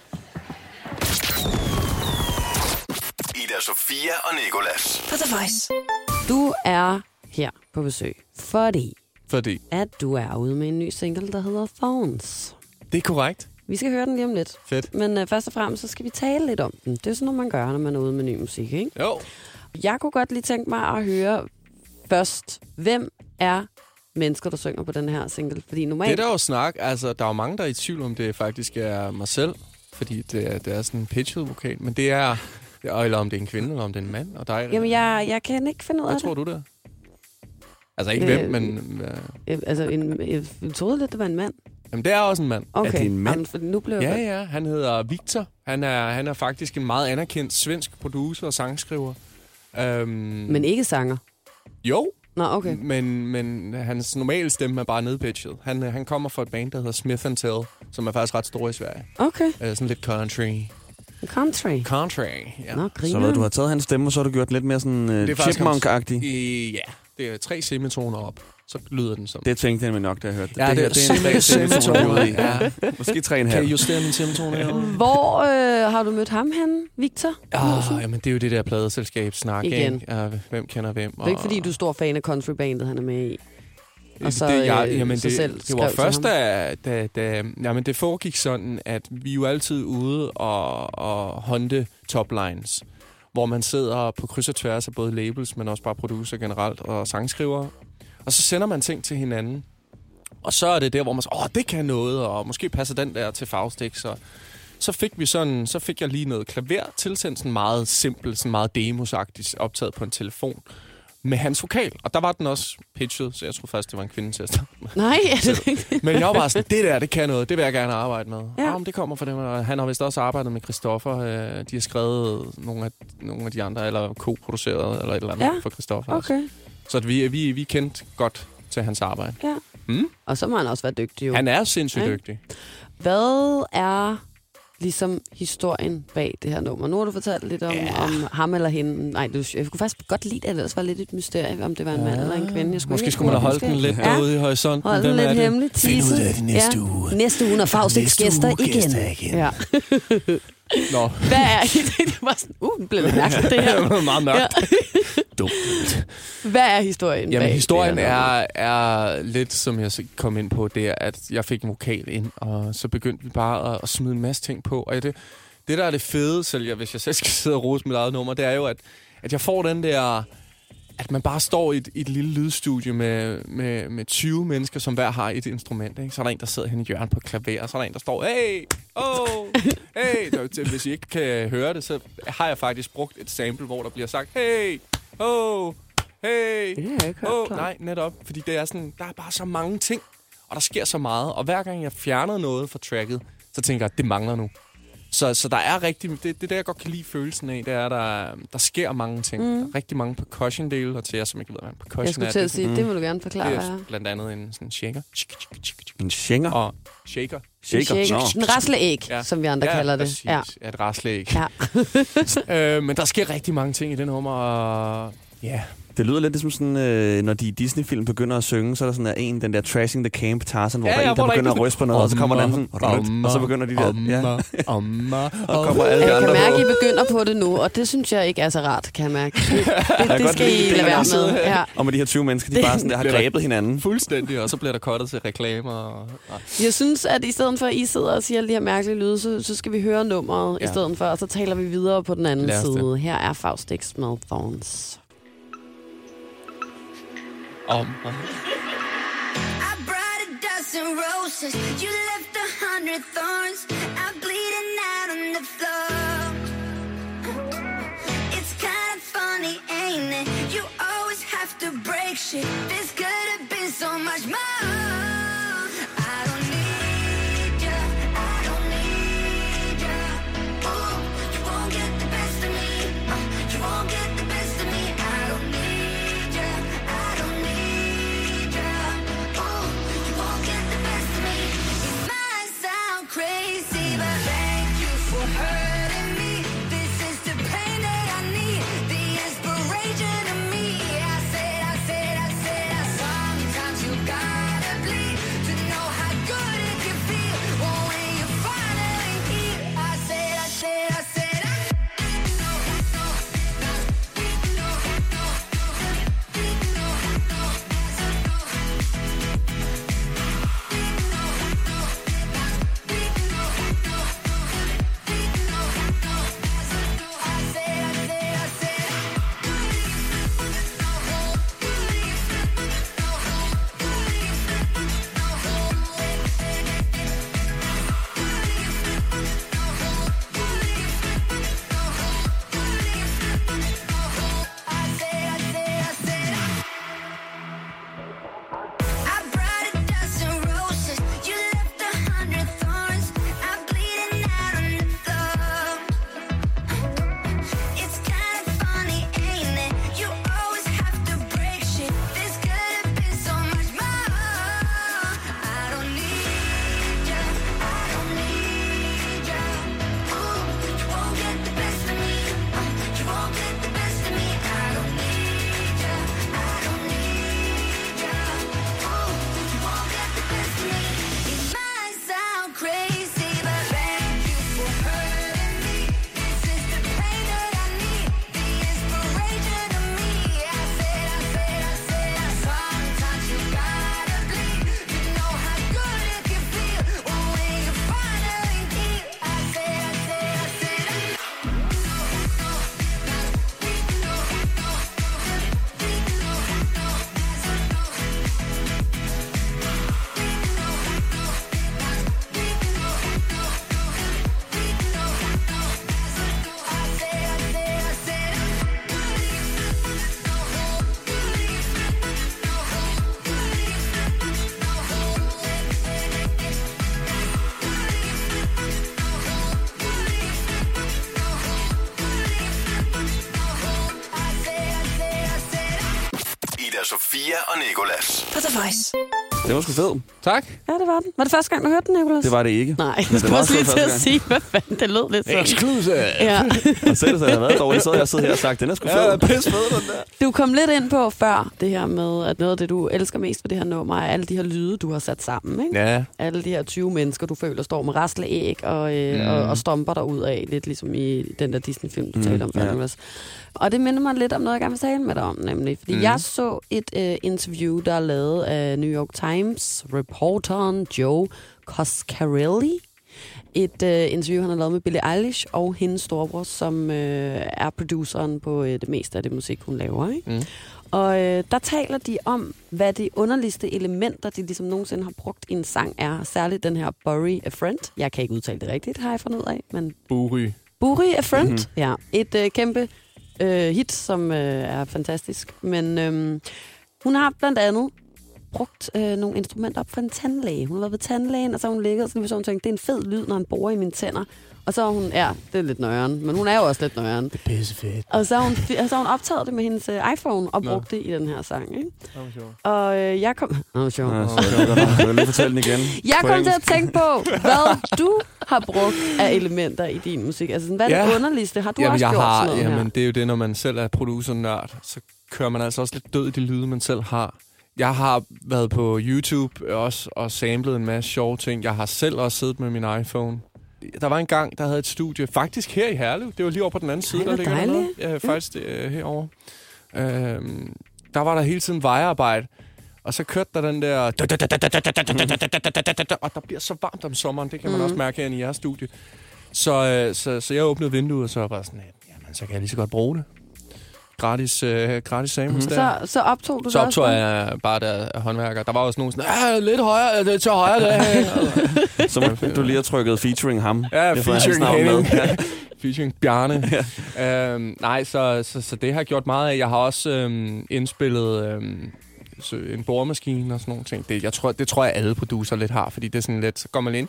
[SPEAKER 2] Ida Sofia og Nikolas.
[SPEAKER 1] På The Voice.
[SPEAKER 3] Du er her på besøg, fordi
[SPEAKER 5] Fordi
[SPEAKER 3] at du er ude med en ny single, der hedder Thorns.
[SPEAKER 5] det er korrekt.
[SPEAKER 3] Vi skal høre den lige om lidt.
[SPEAKER 5] Fedt.
[SPEAKER 3] Men øh, først og fremmest, så skal vi tale lidt om den. Det er jo sådan noget, man gør, når man er ude med ny musik, ikke?
[SPEAKER 5] Jo.
[SPEAKER 3] Jeg kunne godt lige tænke mig at høre først, hvem er mennesker, der synger på den her single? Fordi normalt...
[SPEAKER 5] Det er der jo snak. Altså, der er jo mange, der er i tvivl om, det faktisk er mig selv. Fordi det er, det er sådan en pitchet vokal. Men det er... og Eller om det er en kvinde, eller om det er en mand. Og dig,
[SPEAKER 3] Jamen, jeg, jeg kan ikke finde ud af
[SPEAKER 5] Hvad
[SPEAKER 3] det.
[SPEAKER 5] tror du der? Altså ikke
[SPEAKER 3] Øh,
[SPEAKER 5] hvem, men... Øh,
[SPEAKER 3] Øh, Altså, en, jeg troede lidt, det var en mand.
[SPEAKER 5] jamen, det er også en mand.
[SPEAKER 3] Okay.
[SPEAKER 4] det en mand?
[SPEAKER 3] Jamen, for nu blev jeg
[SPEAKER 5] Ja,
[SPEAKER 3] godt-
[SPEAKER 5] ja. Han hedder Victor. Han er, han er faktisk en meget anerkendt svensk producer og sangskriver. Øhm, men...
[SPEAKER 3] Men ikke sanger.
[SPEAKER 5] Jo,
[SPEAKER 3] Nå, okay.
[SPEAKER 5] men, men hans normale stemme er bare nedpitchet. Han, øh, han kommer fra et band, der hedder Smith Tell, som er faktisk ret stor i Sverige.
[SPEAKER 3] Okay.
[SPEAKER 5] Øh, sådan lidt country.
[SPEAKER 3] Country.
[SPEAKER 5] Country, ja.
[SPEAKER 3] Nå,
[SPEAKER 4] Så hvad,
[SPEAKER 3] griner.
[SPEAKER 4] du har taget hans stemme, og så har du gjort den lidt mere sådan uh,
[SPEAKER 5] faktisk hans-
[SPEAKER 4] chipmunk-agtig.
[SPEAKER 5] Øh, ja, det er tre semitoner op. Så lyder den som...
[SPEAKER 4] Det tænkte jeg nemlig nok, da jeg hørte det.
[SPEAKER 5] Ja, det
[SPEAKER 4] her,
[SPEAKER 5] er simpelthen
[SPEAKER 4] semitone, vi er ude i.
[SPEAKER 5] Ja.
[SPEAKER 4] Måske tre en
[SPEAKER 5] Kan I
[SPEAKER 4] halv.
[SPEAKER 5] justere min semitone herovre?
[SPEAKER 3] Hvor øh, har du mødt ham henne, Victor?
[SPEAKER 5] Ah, jamen, det er jo det der pladeselskab-snak,
[SPEAKER 3] Igen.
[SPEAKER 5] ikke? Ja, hvem kender hvem?
[SPEAKER 3] Det er ikke, fordi du er stor fan af countrybandet, han er med i.
[SPEAKER 5] og
[SPEAKER 3] så,
[SPEAKER 5] det,
[SPEAKER 3] øh,
[SPEAKER 5] jamen,
[SPEAKER 3] så
[SPEAKER 5] det,
[SPEAKER 3] selv
[SPEAKER 5] det
[SPEAKER 3] skrev
[SPEAKER 5] var
[SPEAKER 3] til
[SPEAKER 5] først,
[SPEAKER 3] ham.
[SPEAKER 5] da, da, da jamen, det foregik sådan, at vi er jo altid ude og, og håndte toplines, hvor man sidder på kryds og tværs af både labels, men også bare producer generelt og sangskriver. Og så sender man ting til hinanden. Og så er det der, hvor man siger, åh, det kan noget, og måske passer den der til Faustix. Så, så fik vi sådan, så fik jeg lige noget klaver tilsendt, sådan meget simpelt, sådan meget demosagtigt, optaget på en telefon med hans vokal. Og der var den også pitchet, så jeg tror faktisk, det var en kvinde til at starte med.
[SPEAKER 3] Nej, er det ikke?
[SPEAKER 5] Men jeg var bare sådan, det der, det kan noget, det vil jeg gerne arbejde med.
[SPEAKER 3] Ja.
[SPEAKER 5] Ja. Ah, men det kommer fra dem, og han har vist også arbejdet med Christoffer. Øh, de har skrevet nogle af, nogle af de andre, eller co-produceret, eller et eller andet
[SPEAKER 3] Ja.
[SPEAKER 5] ja. for Christoffer. også.
[SPEAKER 3] Okay,
[SPEAKER 5] Så at vi, vi, vi kendte godt til hans arbejde.
[SPEAKER 3] ja.
[SPEAKER 5] Mm.
[SPEAKER 3] Og så må han også være dygtig, jo.
[SPEAKER 5] Han er sindssygt
[SPEAKER 3] Ja.
[SPEAKER 5] dygtig.
[SPEAKER 3] Hvad er ligesom historien bag det her nummer? Nu har du fortalt lidt om, ja. om ham eller hende. Nej, du, jeg kunne faktisk godt lide, at det ellers var lidt et mysterie, om det var en mand eller en kvinde. Jeg skulle
[SPEAKER 5] Måske
[SPEAKER 3] ikke
[SPEAKER 5] skulle
[SPEAKER 3] kunne
[SPEAKER 5] man have holdt den
[SPEAKER 3] huske.
[SPEAKER 5] lidt
[SPEAKER 3] ja.
[SPEAKER 5] derude i horisonten.
[SPEAKER 3] Hold den
[SPEAKER 5] Hvem er
[SPEAKER 3] lidt
[SPEAKER 5] det?
[SPEAKER 3] hemmelig. Tease.
[SPEAKER 2] ud af det næste
[SPEAKER 3] ja.
[SPEAKER 2] uge.
[SPEAKER 3] Næste uge, når Faust ikke
[SPEAKER 2] Næste
[SPEAKER 3] gæster
[SPEAKER 2] uge
[SPEAKER 3] igen.
[SPEAKER 2] gæster igen.
[SPEAKER 3] Ja.
[SPEAKER 5] Nå,
[SPEAKER 3] Hvad er det? Det var sådan, uh, det blev lidt mærkeligt, det her.
[SPEAKER 5] det var meget mørkt.
[SPEAKER 3] Ja. Hvad er historien
[SPEAKER 5] Jamen,
[SPEAKER 3] bag
[SPEAKER 5] historien
[SPEAKER 3] det her nummer?
[SPEAKER 5] er, er lidt, som jeg så kom ind på, det er, at jeg fik en vokal ind, og så begyndte vi bare at, at smide en masse ting på. Og det, det, der er det fede, selv jeg, hvis jeg selv skal sidde og rose mit eget nummer, det er jo, at, at jeg får den der... At man bare står i et, i et lille lydstudie med, med, med 20 mennesker, som hver har et instrument. Ikke? Så er der en, der sidder hen i hjørnet på et klaver, og så er der en, der står, hey, oh, hey. Der- til- Hvis I ikke kan høre det, så har jeg faktisk brugt et sample, hvor der bliver sagt, hey, oh, hey,
[SPEAKER 3] Det har jeg ikke hørt
[SPEAKER 5] Åh,
[SPEAKER 3] før.
[SPEAKER 5] oh, nej, netop. Fordi det er sådan, der er bare så mange ting, og der sker så meget. Og hver gang jeg fjernede noget fra tracket, så tænker jeg, at det mangler nu. Så, så der er rigtig... Det, det er der, jeg godt kan lide følelsen af, det er, der, der sker mange ting. Mm. Der er rigtig mange percussion-dele, og til jer, som ikke ved, hvad en percussion
[SPEAKER 3] Jeg skulle
[SPEAKER 5] er...
[SPEAKER 3] til
[SPEAKER 5] det
[SPEAKER 3] at sige, det må du gerne forklare.
[SPEAKER 5] er
[SPEAKER 3] Ja.
[SPEAKER 5] sådan- det er blandt andet en sådan shaker. Tsk, tsk, tsk, tsk,
[SPEAKER 4] En sjænger.
[SPEAKER 5] Og shaker.
[SPEAKER 4] Shaker. Nå.
[SPEAKER 3] En rasleæg, ja.
[SPEAKER 5] Ja.
[SPEAKER 3] som vi andre
[SPEAKER 5] ja,
[SPEAKER 3] kalder det.
[SPEAKER 5] Præcis, ja, et raslæg.
[SPEAKER 3] Ja.
[SPEAKER 5] øh, men der sker rigtig mange ting i det nummer, og ja,
[SPEAKER 4] Det lyder lidt ligesom sådan, øh, når de i Disney-film begynder at synge, så er der sådan der en, den der Trashing the Camp Tarzan, hvor ja, der er en, der begynder at ryste på noget, og så kommer den anden sådan, og så begynder de der, ja,
[SPEAKER 5] Omma,
[SPEAKER 4] og kommer alle de
[SPEAKER 3] Jeg kan
[SPEAKER 4] andre
[SPEAKER 3] mærke, at I
[SPEAKER 4] på.
[SPEAKER 3] begynder på det nu, og det synes jeg ikke er så rart, kan jeg mærke. Det, det
[SPEAKER 4] godt
[SPEAKER 3] skal
[SPEAKER 4] lide
[SPEAKER 3] I
[SPEAKER 4] ideen
[SPEAKER 3] lade
[SPEAKER 4] om
[SPEAKER 3] være
[SPEAKER 4] at sidde
[SPEAKER 3] med.
[SPEAKER 4] her.
[SPEAKER 3] Ja.
[SPEAKER 4] Og med de her 20 mennesker, de
[SPEAKER 3] Det-
[SPEAKER 4] bare sådan der har
[SPEAKER 5] Bliver der-
[SPEAKER 4] grebet hinanden.
[SPEAKER 5] Fuldstændig, og så bliver der kottet til reklamer. Og, nej.
[SPEAKER 3] Jeg synes, at i stedet for, at I sidder og siger alle de her mærkelige lyde, så, så skal vi høre nummeret ja. i
[SPEAKER 5] Ja.
[SPEAKER 3] stedet for, og så taler vi videre på den anden
[SPEAKER 5] Lad os det.
[SPEAKER 3] side. Her er Faust X med Thorns.
[SPEAKER 5] Om, og,
[SPEAKER 9] I brought a dozen roses. You left a hundred thorns. I'm bleeding out on the floor. It's kind of funny, ain't it? You always have to break shit. This could have been so much more. I don't need ya. I don't need ya. Ooh, you won't get the best of me. Uh, you won't get the best of me. I don't need ya. I don't need ya. Ooh, you won't get the best of me. It might sound crazy, but thank you for hurting me. This is the pain that I need, the inspiration of me. I said, I said, I said, I sometimes you gotta bleed to know how good it can feel. Well, when you finally heal, I said, I said, I said, I. I brought a dozen roses. You left a hundred thorns. I'm bleeding out on the floor. It's kind of funny, ain't it? You always have to break shit. This could have been so much more. I don't need ya. I don't need ya. Ooh, you won't get the best of me. Uh, You won't get the best of me. I don't need ya. I don't need ya.
[SPEAKER 2] Ida Sofia og Nikolas.
[SPEAKER 1] På The Voice.
[SPEAKER 4] Det var sgu fedt.
[SPEAKER 5] tak.
[SPEAKER 3] Ja, det var den. Var det første gang, du hørte den, Nicolas?
[SPEAKER 4] Det var det ikke.
[SPEAKER 3] Nej,
[SPEAKER 4] Men
[SPEAKER 3] jeg
[SPEAKER 4] det
[SPEAKER 3] skulle
[SPEAKER 4] var
[SPEAKER 3] også lige
[SPEAKER 4] også
[SPEAKER 3] til at
[SPEAKER 4] første
[SPEAKER 3] sige, hvad fanden, det lød lidt sådan.
[SPEAKER 5] Exclusive.
[SPEAKER 3] Ja.
[SPEAKER 4] Og selv hvis det havde været dårligt, så havde jeg siddet her og sagt, den er sgu fed.
[SPEAKER 5] pis med den der.
[SPEAKER 3] Du kom lidt ind på før det her med, at noget af det, du elsker mest ved det her nummer, er alle de her lyde, du har sat sammen. Ikke?
[SPEAKER 5] Ja,
[SPEAKER 3] alle de her 20 mennesker, du føler står med rastleæg og, øh, mm. og, og stomper dig ud af, lidt ligesom i den der Disney-film, du mm, talte om før.
[SPEAKER 4] ja.
[SPEAKER 3] Ja. Og det minder mig lidt om noget, jeg gerne vil tale med dig om, nemlig. Fordi mm. jeg så et øh, interview, der er lavet af New York Times, reporteren Joe Coscarelli. Et øh, interview, han har lavet med Billie Eilish og hendes storebror, som øh, er produceren på øh, det meste af det musik, hun laver. Ikke? Mm. Og øh, der taler de om, hvad de underligste elementer, de ligesom nogensinde har brugt i en sang, er. Særligt den her Bury a Friend. Jeg kan ikke udtale det rigtigt, har jeg fundet ud af. Men
[SPEAKER 5] Buri.
[SPEAKER 3] Bury a Friend, mm-hmm. ja. Et øh, kæmpe øh, hit, som øh, er fantastisk. Men øh, hun har blandt andet brugt øh, nogle instrumenter op fra en tandlæge. Hun har været ved tandlægen, og så har hun ligget, og så har hun tænkt, det er en fed lyd, når han borer i mine tænder. Og så har hun, ja, det er lidt nøjeren, men hun er jo også lidt nøjeren. Det er pissefedt. Og så har hun, og så har hun optaget det med hendes øh, iPhone og brugt det i den her sang, ikke? Og øh, jeg kom... Nå, sjov.
[SPEAKER 4] Ja, så kan jeg godt nok. Jeg vil lige fortælle den igen.
[SPEAKER 3] Jeg
[SPEAKER 4] På
[SPEAKER 3] kom til
[SPEAKER 4] engelsk.
[SPEAKER 3] at tænke på, hvad du har brugt af elementer i din musik. Altså, sådan, hvad er det
[SPEAKER 5] Ja.
[SPEAKER 3] underligste? Har du
[SPEAKER 5] jamen,
[SPEAKER 3] også
[SPEAKER 5] jeg
[SPEAKER 3] gjort
[SPEAKER 5] har,
[SPEAKER 3] sådan noget
[SPEAKER 5] jamen,
[SPEAKER 3] her?
[SPEAKER 5] det er jo det, når man selv er producer-nørd, så kører man altså også lidt død i de lyde, man selv har. Jeg har været på YouTube også og samlet en masse sjove ting. Jeg har selv også siddet med min iPhone. Der var en gang, der havde et studie, faktisk her i Herlev. Det var lige over på den anden side,
[SPEAKER 3] Ej, hvor
[SPEAKER 5] der ligger dernede.
[SPEAKER 3] dejligt.
[SPEAKER 5] Ja, faktisk øh, herovre. Øhm, der var der hele tiden vejarbejde. Og så kørte der den der... Og der bliver så varmt om sommeren, det kan
[SPEAKER 3] Mm.
[SPEAKER 5] man også mærke her i jeres studie. Så, øh, så, så jeg åbnede vinduet, og så var jeg bare sådan, at, jamen, så kan jeg lige så godt bruge det. Gratis, øh, gratis samus der.
[SPEAKER 3] Mm-hmm. Så, så optog du
[SPEAKER 5] Så
[SPEAKER 3] det også
[SPEAKER 5] optog
[SPEAKER 3] nu?
[SPEAKER 5] jeg bare der håndværker. Der var også nogen sådan, "Ah, lidt højere, øh, det er til højre der.
[SPEAKER 4] Som du lige har trykket featuring ham.
[SPEAKER 5] Ja,
[SPEAKER 4] Det får hans navn
[SPEAKER 5] featuring
[SPEAKER 4] med.
[SPEAKER 5] Henning. Featuring Bjarne. øhm, nej, så, så, så det har jeg gjort meget af. Jeg har også øhm, indspillet øhm, så en boremaskine og sådan nogle ting. Det, jeg tror, det tror jeg, alle producer lidt har, fordi det er sådan lidt, så går man ind,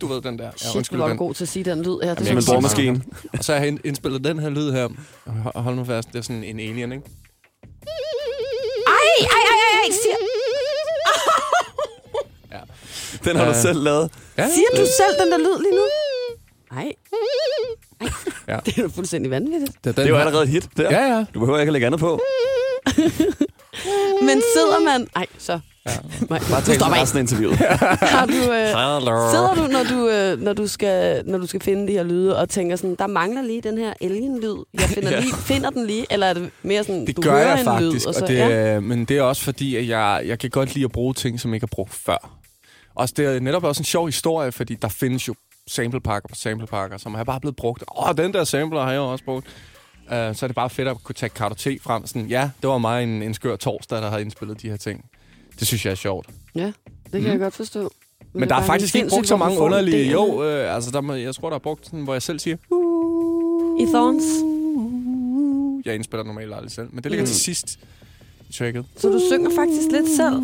[SPEAKER 5] du ved den der. Ja,
[SPEAKER 3] Shit,
[SPEAKER 5] undskyld
[SPEAKER 3] hvor er du
[SPEAKER 5] den.
[SPEAKER 3] god til at sige den lyd her. Det
[SPEAKER 4] Som en
[SPEAKER 3] synes jeg-
[SPEAKER 4] boremaskine.
[SPEAKER 5] Og så har jeg ind- indspillet den her lyd her. Og ho- Hold nu fast, det er sådan en alien, ikke?
[SPEAKER 3] Ej, ej, ej, ej, ej, siger,
[SPEAKER 4] Den har du
[SPEAKER 5] Øh.
[SPEAKER 4] selv lavet.
[SPEAKER 5] Ja,
[SPEAKER 3] siger du selv den der lyd lige nu? Nej.
[SPEAKER 5] Ja.
[SPEAKER 3] Det er jo fuldstændig vanvittigt.
[SPEAKER 5] Det,
[SPEAKER 4] Det er jo allerede et hit der.
[SPEAKER 5] Ja, ja.
[SPEAKER 4] Du behøver ikke at lægge andet på.
[SPEAKER 3] Men sidder man... Ej, så... Ja. Nej,
[SPEAKER 4] Bare
[SPEAKER 3] du
[SPEAKER 4] tag
[SPEAKER 3] stopper
[SPEAKER 4] til
[SPEAKER 3] ikke.
[SPEAKER 4] resten af interviewet.
[SPEAKER 3] Har du, øh,
[SPEAKER 4] Hello.
[SPEAKER 3] sidder du, når du, øh, når, du skal, når du skal finde de her lyde, og tænker sådan, der mangler lige den her alien-lyd. Jeg finder,
[SPEAKER 4] Ja.
[SPEAKER 3] lige, finder den lige, eller er det mere sådan,
[SPEAKER 5] Det
[SPEAKER 3] du
[SPEAKER 5] gør
[SPEAKER 3] hører
[SPEAKER 5] jeg
[SPEAKER 3] en
[SPEAKER 5] faktisk,
[SPEAKER 3] lyd?
[SPEAKER 5] og det, ja. men det er også fordi, at jeg, jeg kan godt lide at bruge ting, som ikke er brugt før. Også det er netop også en sjov historie, fordi der findes jo samplepakker på samplepakker, som er bare blevet brugt. Åh, den der sampler har jeg også brugt. Uh, så er det bare fedt at kunne tage kartotek frem. Sådan, ja, det var mig en, en skør torsdag, der havde indspillet de her ting. Det synes jeg er sjovt.
[SPEAKER 3] ja, det kan jeg godt forstå.
[SPEAKER 5] Mhm. Men der er faktisk ikke brugt så mange underlige... Jo,
[SPEAKER 3] Jo.
[SPEAKER 5] øh, altså der, må- jeg tror, der er brugt sådan, hvor jeg selv siger, "Uh,
[SPEAKER 3] I Thorns.
[SPEAKER 5] jeg indspiller normalt aldrig selv. Men det ligger mm. til sidst i tracket.
[SPEAKER 3] Så du synger faktisk lidt selv?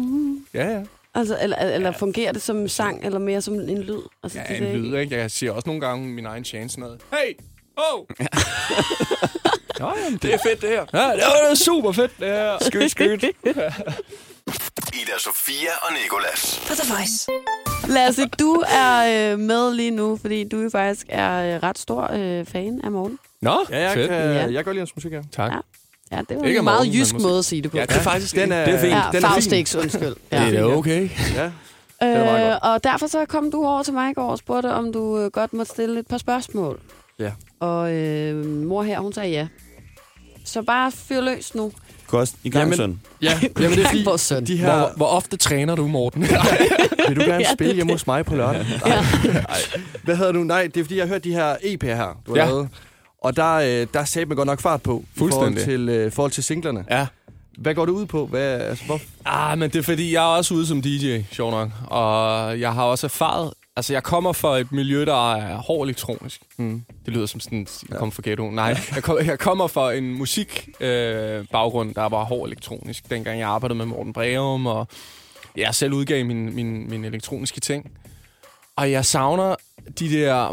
[SPEAKER 5] Ja, ja.
[SPEAKER 3] Altså, eller, eller ja. fungerer det som sang, eller mere som en lyd? Altså,
[SPEAKER 5] Ja,
[SPEAKER 3] det
[SPEAKER 5] en
[SPEAKER 3] der-
[SPEAKER 5] lyd, ikke? Jeg siger også nogle gange min egen chance sådan noget. Hey! Oh! Nå, jamen, det er fedt, det her. Ja, det var det super fedt, det her. Skyt, skyt.
[SPEAKER 2] Ida Sofia og Nikolas.
[SPEAKER 1] På The Voice.
[SPEAKER 3] Lasse, du er øh, med lige nu, fordi du jo faktisk er øh, ret stor øh, fan af Morten.
[SPEAKER 5] Nå,
[SPEAKER 10] Ja, jeg,
[SPEAKER 5] fedt.
[SPEAKER 10] kan,
[SPEAKER 3] Ja.
[SPEAKER 10] jeg kan godt lide hans musik, ja.
[SPEAKER 5] Tak.
[SPEAKER 3] Ja. Ja, det var
[SPEAKER 5] Øh, Ikke
[SPEAKER 3] en
[SPEAKER 5] om
[SPEAKER 3] meget
[SPEAKER 5] morgenen, men
[SPEAKER 3] jysk
[SPEAKER 5] måske-
[SPEAKER 3] måde at sige det på.
[SPEAKER 10] Ja, det er faktisk den er,
[SPEAKER 4] Det er fint.
[SPEAKER 3] ja
[SPEAKER 10] Den er fin.
[SPEAKER 3] Faustix, undskud. Ja.
[SPEAKER 5] Det er da okay.
[SPEAKER 10] Ja.
[SPEAKER 3] Øh,
[SPEAKER 10] er meget godt.
[SPEAKER 3] og derfor så kom du over til mig i går og spurgte, om du øh, godt måtte stille et par spørgsmål.
[SPEAKER 10] Ja.
[SPEAKER 3] Og øh, mor her, hun sagde ja. Så bare fyr løs nu.
[SPEAKER 4] Kost i gang,
[SPEAKER 10] Jamen,
[SPEAKER 4] søn.
[SPEAKER 10] Ja, jamen, det er
[SPEAKER 3] Vores
[SPEAKER 10] fint.
[SPEAKER 3] søn.
[SPEAKER 10] De her,
[SPEAKER 5] Hvor, hvor ofte træner du, Morten?
[SPEAKER 10] vil du gerne
[SPEAKER 3] Ja, det
[SPEAKER 10] spille
[SPEAKER 3] er
[SPEAKER 10] hjemme hos mig på lørdag? Nej. Hvad hedder du? Nej, det er fordi, jeg har hørt de her EP'er her, du har
[SPEAKER 5] Ja.
[SPEAKER 10] ja. lavet. Og der, øh, der sagde man godt nok fart på.
[SPEAKER 5] Fuldstændig.
[SPEAKER 10] I forhold til, øh, forhold til singlerne.
[SPEAKER 5] ja.
[SPEAKER 10] Hvad går det ud på? Hvad, altså, hvor,
[SPEAKER 5] Ah, men det er fordi, jeg er også ude som DJ, sjov nok. Og jeg har også erfaret... Altså, jeg kommer fra et miljø, der er hård elektronisk. Mm. Det lyder som sådan, jeg kommer fra ghetto. Nej, jeg, kom, jeg kommer fra en musikbaggrund, øh, baggrund, der var hård elektronisk. Dengang jeg arbejdede med Morten Breum, og jeg selv udgav mine min, min elektroniske ting. Og jeg savner de der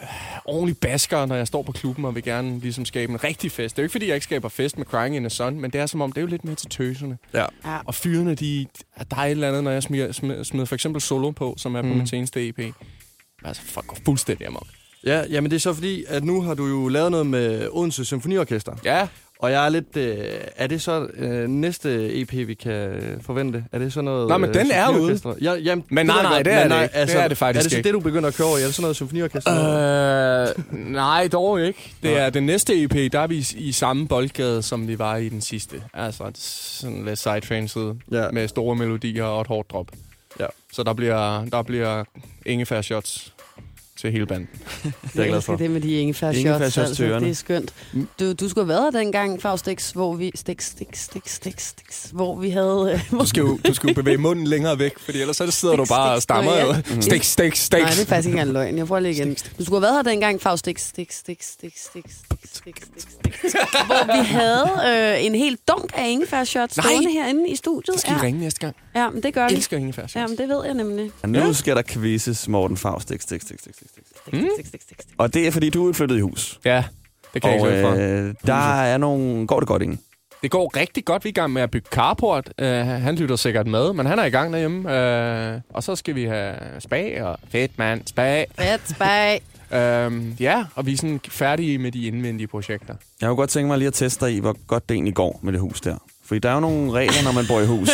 [SPEAKER 5] øh, ordentlige basker, når jeg står på klubben og vil gerne ligesom skabe en rigtig fest. Det er jo ikke, fordi jeg ikke skaber fest med Crying in the Sun, men det er som om, det er jo lidt mere til tøserne.
[SPEAKER 10] ja.
[SPEAKER 5] Og fyrene, de, der er et eller andet, når jeg smider, smider, smider for eksempel Solo på, som er på mm. min seneste EP. Altså, folk går fuldstændig amok.
[SPEAKER 10] ja, jamen det er så fordi, at nu har du jo lavet noget med Odense Symfoniorkester.
[SPEAKER 5] Ja,
[SPEAKER 10] Og jeg er lidt... Øh, er det så øh, næste EP, vi kan øh, forvente? Er det så noget... øh,
[SPEAKER 5] Nej, men den er ude.
[SPEAKER 10] symfoniorkester? Ja, jamen,
[SPEAKER 5] Men nej,
[SPEAKER 10] ved jeg
[SPEAKER 5] nej,
[SPEAKER 10] godt,
[SPEAKER 5] det er
[SPEAKER 10] men altså,
[SPEAKER 5] det ikke. Det er det faktisk
[SPEAKER 10] Er det så
[SPEAKER 5] ikke.
[SPEAKER 10] det, du begynder at køre over i? Er det sådan noget symfoniorkester?
[SPEAKER 5] Øh, nej, dog ikke. Det er den næste EP, der er vi i, i samme boldgade, som vi var i den sidste. Altså sådan lidt sidetrain ja.
[SPEAKER 10] Ja.
[SPEAKER 5] med store melodier og et hårdt drop.
[SPEAKER 10] Ja.
[SPEAKER 5] Så der bliver, der bliver ingefær shots til hele banden.
[SPEAKER 10] Det er jeg glad for.
[SPEAKER 3] elsker det med de ingefær
[SPEAKER 4] Ingefær
[SPEAKER 3] shots,
[SPEAKER 4] shots
[SPEAKER 3] altså.
[SPEAKER 4] til ørerne.
[SPEAKER 3] Det er skønt. Du, du skulle have været der dengang, Faustix, hvor vi... Stix, stix, stix, stix, stix, hvor vi havde... øh, hvor-
[SPEAKER 5] Du skal jo, du skal jo bevæge munden længere væk, for ellers så sidder
[SPEAKER 3] Stik,
[SPEAKER 5] du bare og
[SPEAKER 3] stik,
[SPEAKER 5] stammer.
[SPEAKER 3] nå ja.
[SPEAKER 5] Ja.
[SPEAKER 3] Mhm.
[SPEAKER 5] Stik, stik, stik.
[SPEAKER 3] Nej, det er faktisk ikke engang løgn. Jeg prøver lige igen. Du skulle have været her dengang, Faust. Stik, stik, stik, stik, stik, stik, stik, stik, stik. Hvor vi havde øh, en helt dunk af ingefær shots
[SPEAKER 5] Nej.
[SPEAKER 3] stående herinde i studiet.
[SPEAKER 5] Så skal I ringe næste gang.
[SPEAKER 3] Ja, ja men det gør
[SPEAKER 5] Jeg
[SPEAKER 3] vi.
[SPEAKER 5] elsker ingefær shots.
[SPEAKER 3] Ja, men det ved jeg nemlig.
[SPEAKER 4] Og nu skal der quizzes Morten Faust. Stik, stik, stik, stik, stik, stik.
[SPEAKER 5] Hmm?
[SPEAKER 4] Og det er, fordi du er flyttet i hus.
[SPEAKER 5] Ja, det kan jeg
[SPEAKER 4] Og
[SPEAKER 5] ikke løbe fra.
[SPEAKER 4] øh, der er nogle... Går det godt ind?
[SPEAKER 5] Det går rigtig godt. Vi er i gang med at bygge carport. Uh, han lytter sikkert med, men han er i gang Øh, derhjemme. Uh, og så skal vi have spa og fedt mand, spa.
[SPEAKER 3] Fedt, bag.
[SPEAKER 5] Øhm, ja, og vi er sådan færdige med de indvendige projekter.
[SPEAKER 4] Jeg kunne godt tænke mig lige at teste dig i, hvor godt det egentlig går med det hus der. Fordi der er jo nogle regler, når man bor i hus,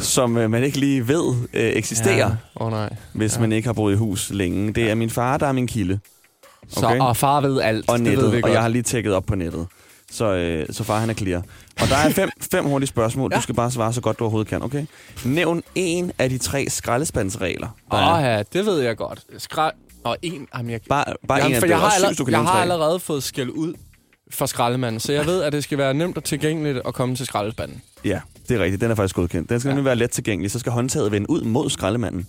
[SPEAKER 4] som øh, man ikke lige ved øh, eksisterer, ja.
[SPEAKER 5] Åh oh, nej.
[SPEAKER 4] hvis ja. man ikke har boet i hus længe. Det er min far, der er min kilde.
[SPEAKER 5] Så, okay. og far ved alt.
[SPEAKER 4] og
[SPEAKER 5] det ved
[SPEAKER 4] nettet,
[SPEAKER 5] vi
[SPEAKER 4] og
[SPEAKER 5] godt.
[SPEAKER 4] jeg har lige tjekket op på nettet. Så, øh, så far han er clear. Og der er fem, fem hurtige spørgsmål. Ja. Du skal bare svare så godt du overhovedet kan, okay? Nævn en af de tre skraldespandsregler. der
[SPEAKER 5] Åh
[SPEAKER 4] er.
[SPEAKER 5] oh, ja, det ved jeg godt. Skræ... Og en... Jamen, jeg...
[SPEAKER 4] Bare, bare
[SPEAKER 5] Jamen,
[SPEAKER 4] en af
[SPEAKER 5] for
[SPEAKER 4] dem.
[SPEAKER 5] jeg har,
[SPEAKER 4] Også
[SPEAKER 5] allerede,
[SPEAKER 4] synes, du kan
[SPEAKER 5] jeg
[SPEAKER 4] nævne
[SPEAKER 5] har
[SPEAKER 4] tre.
[SPEAKER 5] allerede fået skæld ud for skraldemanden, så jeg ved, at det skal være nemt og tilgængeligt at komme til skraldespanden.
[SPEAKER 4] Ja, det er rigtigt. Den er faktisk godkendt. Den skal
[SPEAKER 5] Ja.
[SPEAKER 4] ja. nemlig være let tilgængelig. Så skal håndtaget vende ud mod skraldemanden,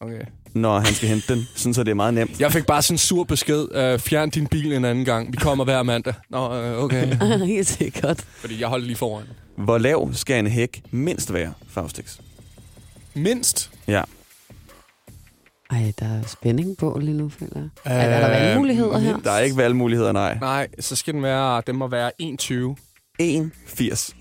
[SPEAKER 5] Okay.
[SPEAKER 4] når han skal hente den. Sådan så det er meget nemt.
[SPEAKER 5] Jeg fik bare sådan en sur besked. Øh, fjern din bil en anden gang. Vi kommer hver mandag. Nå, øh, okay.
[SPEAKER 3] Helt sikkert.
[SPEAKER 5] Fordi jeg holder lige foran.
[SPEAKER 4] Hvor lav skal en hæk mindst være, Faustix?
[SPEAKER 5] Mindst.
[SPEAKER 4] Ja.
[SPEAKER 3] Ej, der er spænding på lige nu, føler jeg. Øh, er der valgmuligheder her?
[SPEAKER 4] Der er ikke valgmuligheder, nej.
[SPEAKER 5] Nej, så skal den være... Den må være 1,20.
[SPEAKER 4] 1,80.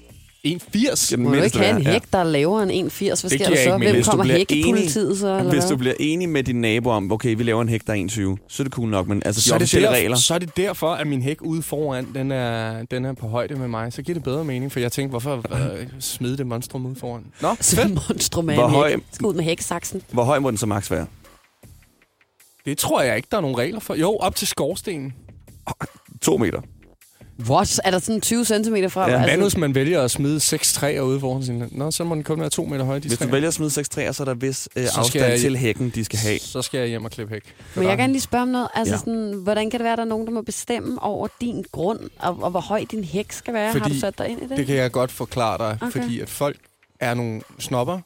[SPEAKER 5] 1,80?
[SPEAKER 4] Skal den
[SPEAKER 3] Må du
[SPEAKER 4] mindst
[SPEAKER 3] ikke have en
[SPEAKER 4] være, ja.
[SPEAKER 3] hæk, der er lavere end 1,80? Hvad
[SPEAKER 5] Det
[SPEAKER 3] sker der
[SPEAKER 5] giver
[SPEAKER 3] så?
[SPEAKER 5] ikke mening.
[SPEAKER 3] Hvem
[SPEAKER 5] Hvis
[SPEAKER 4] du
[SPEAKER 3] kommer
[SPEAKER 4] bliver
[SPEAKER 3] hækkepolitiet så? Eller
[SPEAKER 4] Hvis du
[SPEAKER 3] hvad?
[SPEAKER 4] bliver enig med din nabo om, okay, vi laver en hæk, der er 1,20, så er det cool nok, men altså de
[SPEAKER 5] Så er, det
[SPEAKER 4] officielle
[SPEAKER 5] der,
[SPEAKER 4] regler...
[SPEAKER 5] så er det derfor, at min hæk ude foran, den er, den er på højde med mig. Så giver det bedre mening, for jeg tænkte, hvorfor øh, smide det monstrum ud foran? Nå,
[SPEAKER 3] Så
[SPEAKER 5] fedt.
[SPEAKER 3] monstrum af
[SPEAKER 4] Hvor
[SPEAKER 3] en
[SPEAKER 4] høj-
[SPEAKER 3] hæk. Skal ud med hæksaksen.
[SPEAKER 4] Hvor høj må den så maks være?
[SPEAKER 5] Det tror jeg ikke, der er nogen regler for. Jo, op til skorstenen.
[SPEAKER 4] To meter.
[SPEAKER 3] What? Er der sådan 20 cm fra?
[SPEAKER 4] Ja,
[SPEAKER 3] Ja,
[SPEAKER 5] Hvad nu,
[SPEAKER 3] altså,
[SPEAKER 5] hvis man vælger at smide seks træer ude foran sin... Nå, så må den kun være to meter høj, de
[SPEAKER 4] Hvis du
[SPEAKER 5] træer.
[SPEAKER 4] vælger at smide 6 træer, så er der vis øh,
[SPEAKER 5] skal
[SPEAKER 4] afstand
[SPEAKER 5] jeg-
[SPEAKER 4] jeg... til hækken, de skal have.
[SPEAKER 5] Så skal jeg hjem og klippe hæk.
[SPEAKER 3] må jeg gerne lige spørge om noget? Altså, ja.
[SPEAKER 4] Ja.
[SPEAKER 3] sådan, hvordan kan det være, at der er nogen, der må bestemme over din grund, og, og hvor høj din hæk skal være? Fordi Har du
[SPEAKER 5] Fordi
[SPEAKER 3] sat dig ind i det?
[SPEAKER 5] Det kan jeg godt forklare dig,
[SPEAKER 3] Okay.
[SPEAKER 5] okay. fordi at folk er nogle snopper.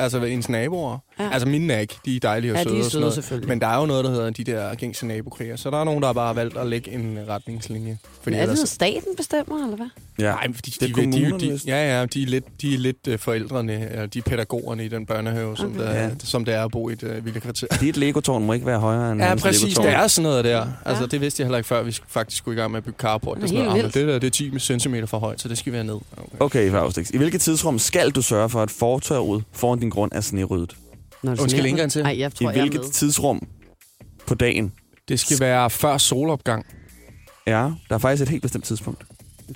[SPEAKER 5] Altså ved ens naboer.
[SPEAKER 3] Ja.
[SPEAKER 5] Ja. Altså mine er ikke, de er dejlige og
[SPEAKER 3] Ja, de er
[SPEAKER 5] søde. og sådan
[SPEAKER 3] søde
[SPEAKER 5] noget.
[SPEAKER 3] selvfølgelig.
[SPEAKER 5] Men der er jo noget, der hedder de der gængse nabokriger. Så der er nogen, der bare har valgt at lægge en øh, retningslinje. Fordi
[SPEAKER 3] er det
[SPEAKER 5] ellers-
[SPEAKER 3] noget, staten bestemmer, eller hvad?
[SPEAKER 4] Ja.
[SPEAKER 5] Nej, men fordi
[SPEAKER 4] Det er
[SPEAKER 5] de, vil- de,
[SPEAKER 4] kommunerne
[SPEAKER 5] de, de,
[SPEAKER 4] vist.
[SPEAKER 5] ja, ja, de er lidt, de er lidt øh, forældrene, eller de er pædagogerne i den børnehave, som, okay. der,
[SPEAKER 4] Ja.
[SPEAKER 5] ja. som det er at bo i et øh, vildt kvarter.
[SPEAKER 4] Dit legotårn må ikke være højere end
[SPEAKER 5] Ja,
[SPEAKER 4] hans
[SPEAKER 5] præcis.
[SPEAKER 4] Legotårn.
[SPEAKER 5] Det er sådan noget der. Altså,
[SPEAKER 3] Ja.
[SPEAKER 5] det vidste jeg heller ikke før, vi skulle- faktisk skulle i gang med at bygge carport.
[SPEAKER 3] Det
[SPEAKER 5] Det
[SPEAKER 3] er
[SPEAKER 5] er sådan
[SPEAKER 3] helt
[SPEAKER 5] noget, "Ah, men
[SPEAKER 3] vildt.
[SPEAKER 5] det der det er 10 cm for højt, så det skal være ned. Okay.
[SPEAKER 4] Okay, Faustix. I hvilket tidsrum skal du sørge for, at fortorvet foran din grund er sneryddet?
[SPEAKER 3] Nå, det
[SPEAKER 5] Undskyld, ikke engang til.
[SPEAKER 3] Nej, jeg tror,
[SPEAKER 4] I
[SPEAKER 3] jeg er
[SPEAKER 4] hvilket
[SPEAKER 3] med.
[SPEAKER 4] tidsrum på dagen?
[SPEAKER 5] Det skal være før solopgang.
[SPEAKER 4] Ja, der er faktisk et helt bestemt tidspunkt.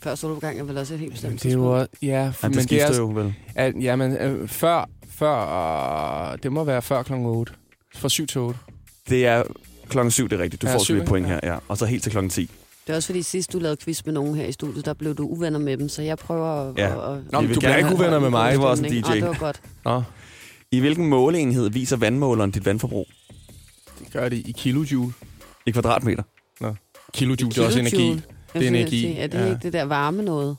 [SPEAKER 3] Før solopgang er vel også et helt bestemt
[SPEAKER 5] Det er jo, også- ja,
[SPEAKER 4] Ja,
[SPEAKER 5] men
[SPEAKER 4] det
[SPEAKER 5] det, det
[SPEAKER 4] skifter
[SPEAKER 5] er,
[SPEAKER 4] jo vel.
[SPEAKER 5] at, ja, men øh, før, før, øh, det må være før kl. 8. Fra 7 til 8.
[SPEAKER 4] Det er klokken 7, det er rigtigt. Du
[SPEAKER 5] Ja,
[SPEAKER 4] får
[SPEAKER 5] syv,
[SPEAKER 4] syv, et
[SPEAKER 5] ikke?
[SPEAKER 4] point
[SPEAKER 5] Ja.
[SPEAKER 4] her, ja. Og så helt til klokken 10.
[SPEAKER 3] Det er også fordi sidst du lavede quiz med nogen her i studiet, der blev du uvenner med dem, så jeg prøver at...
[SPEAKER 4] Ja.
[SPEAKER 3] at, at
[SPEAKER 5] Nå,
[SPEAKER 4] Vi
[SPEAKER 5] men
[SPEAKER 4] vil gerne
[SPEAKER 5] du bliver ikke
[SPEAKER 4] have-
[SPEAKER 5] uvenner med mig.
[SPEAKER 4] Det var også en
[SPEAKER 3] Stemning.
[SPEAKER 4] DJ.
[SPEAKER 3] Ah, det var godt.
[SPEAKER 5] Nå,
[SPEAKER 4] I hvilken måleenhed viser vandmåleren dit vandforbrug?
[SPEAKER 5] det gør det i kilojoule.
[SPEAKER 4] I kvadratmeter.
[SPEAKER 5] Kilojoule, det er
[SPEAKER 3] Kilojoule.
[SPEAKER 5] også energi.
[SPEAKER 3] Jeg
[SPEAKER 5] Det er
[SPEAKER 3] skulle
[SPEAKER 5] energi,
[SPEAKER 3] sige, Er det
[SPEAKER 5] ja.
[SPEAKER 3] ikke det der varme noget?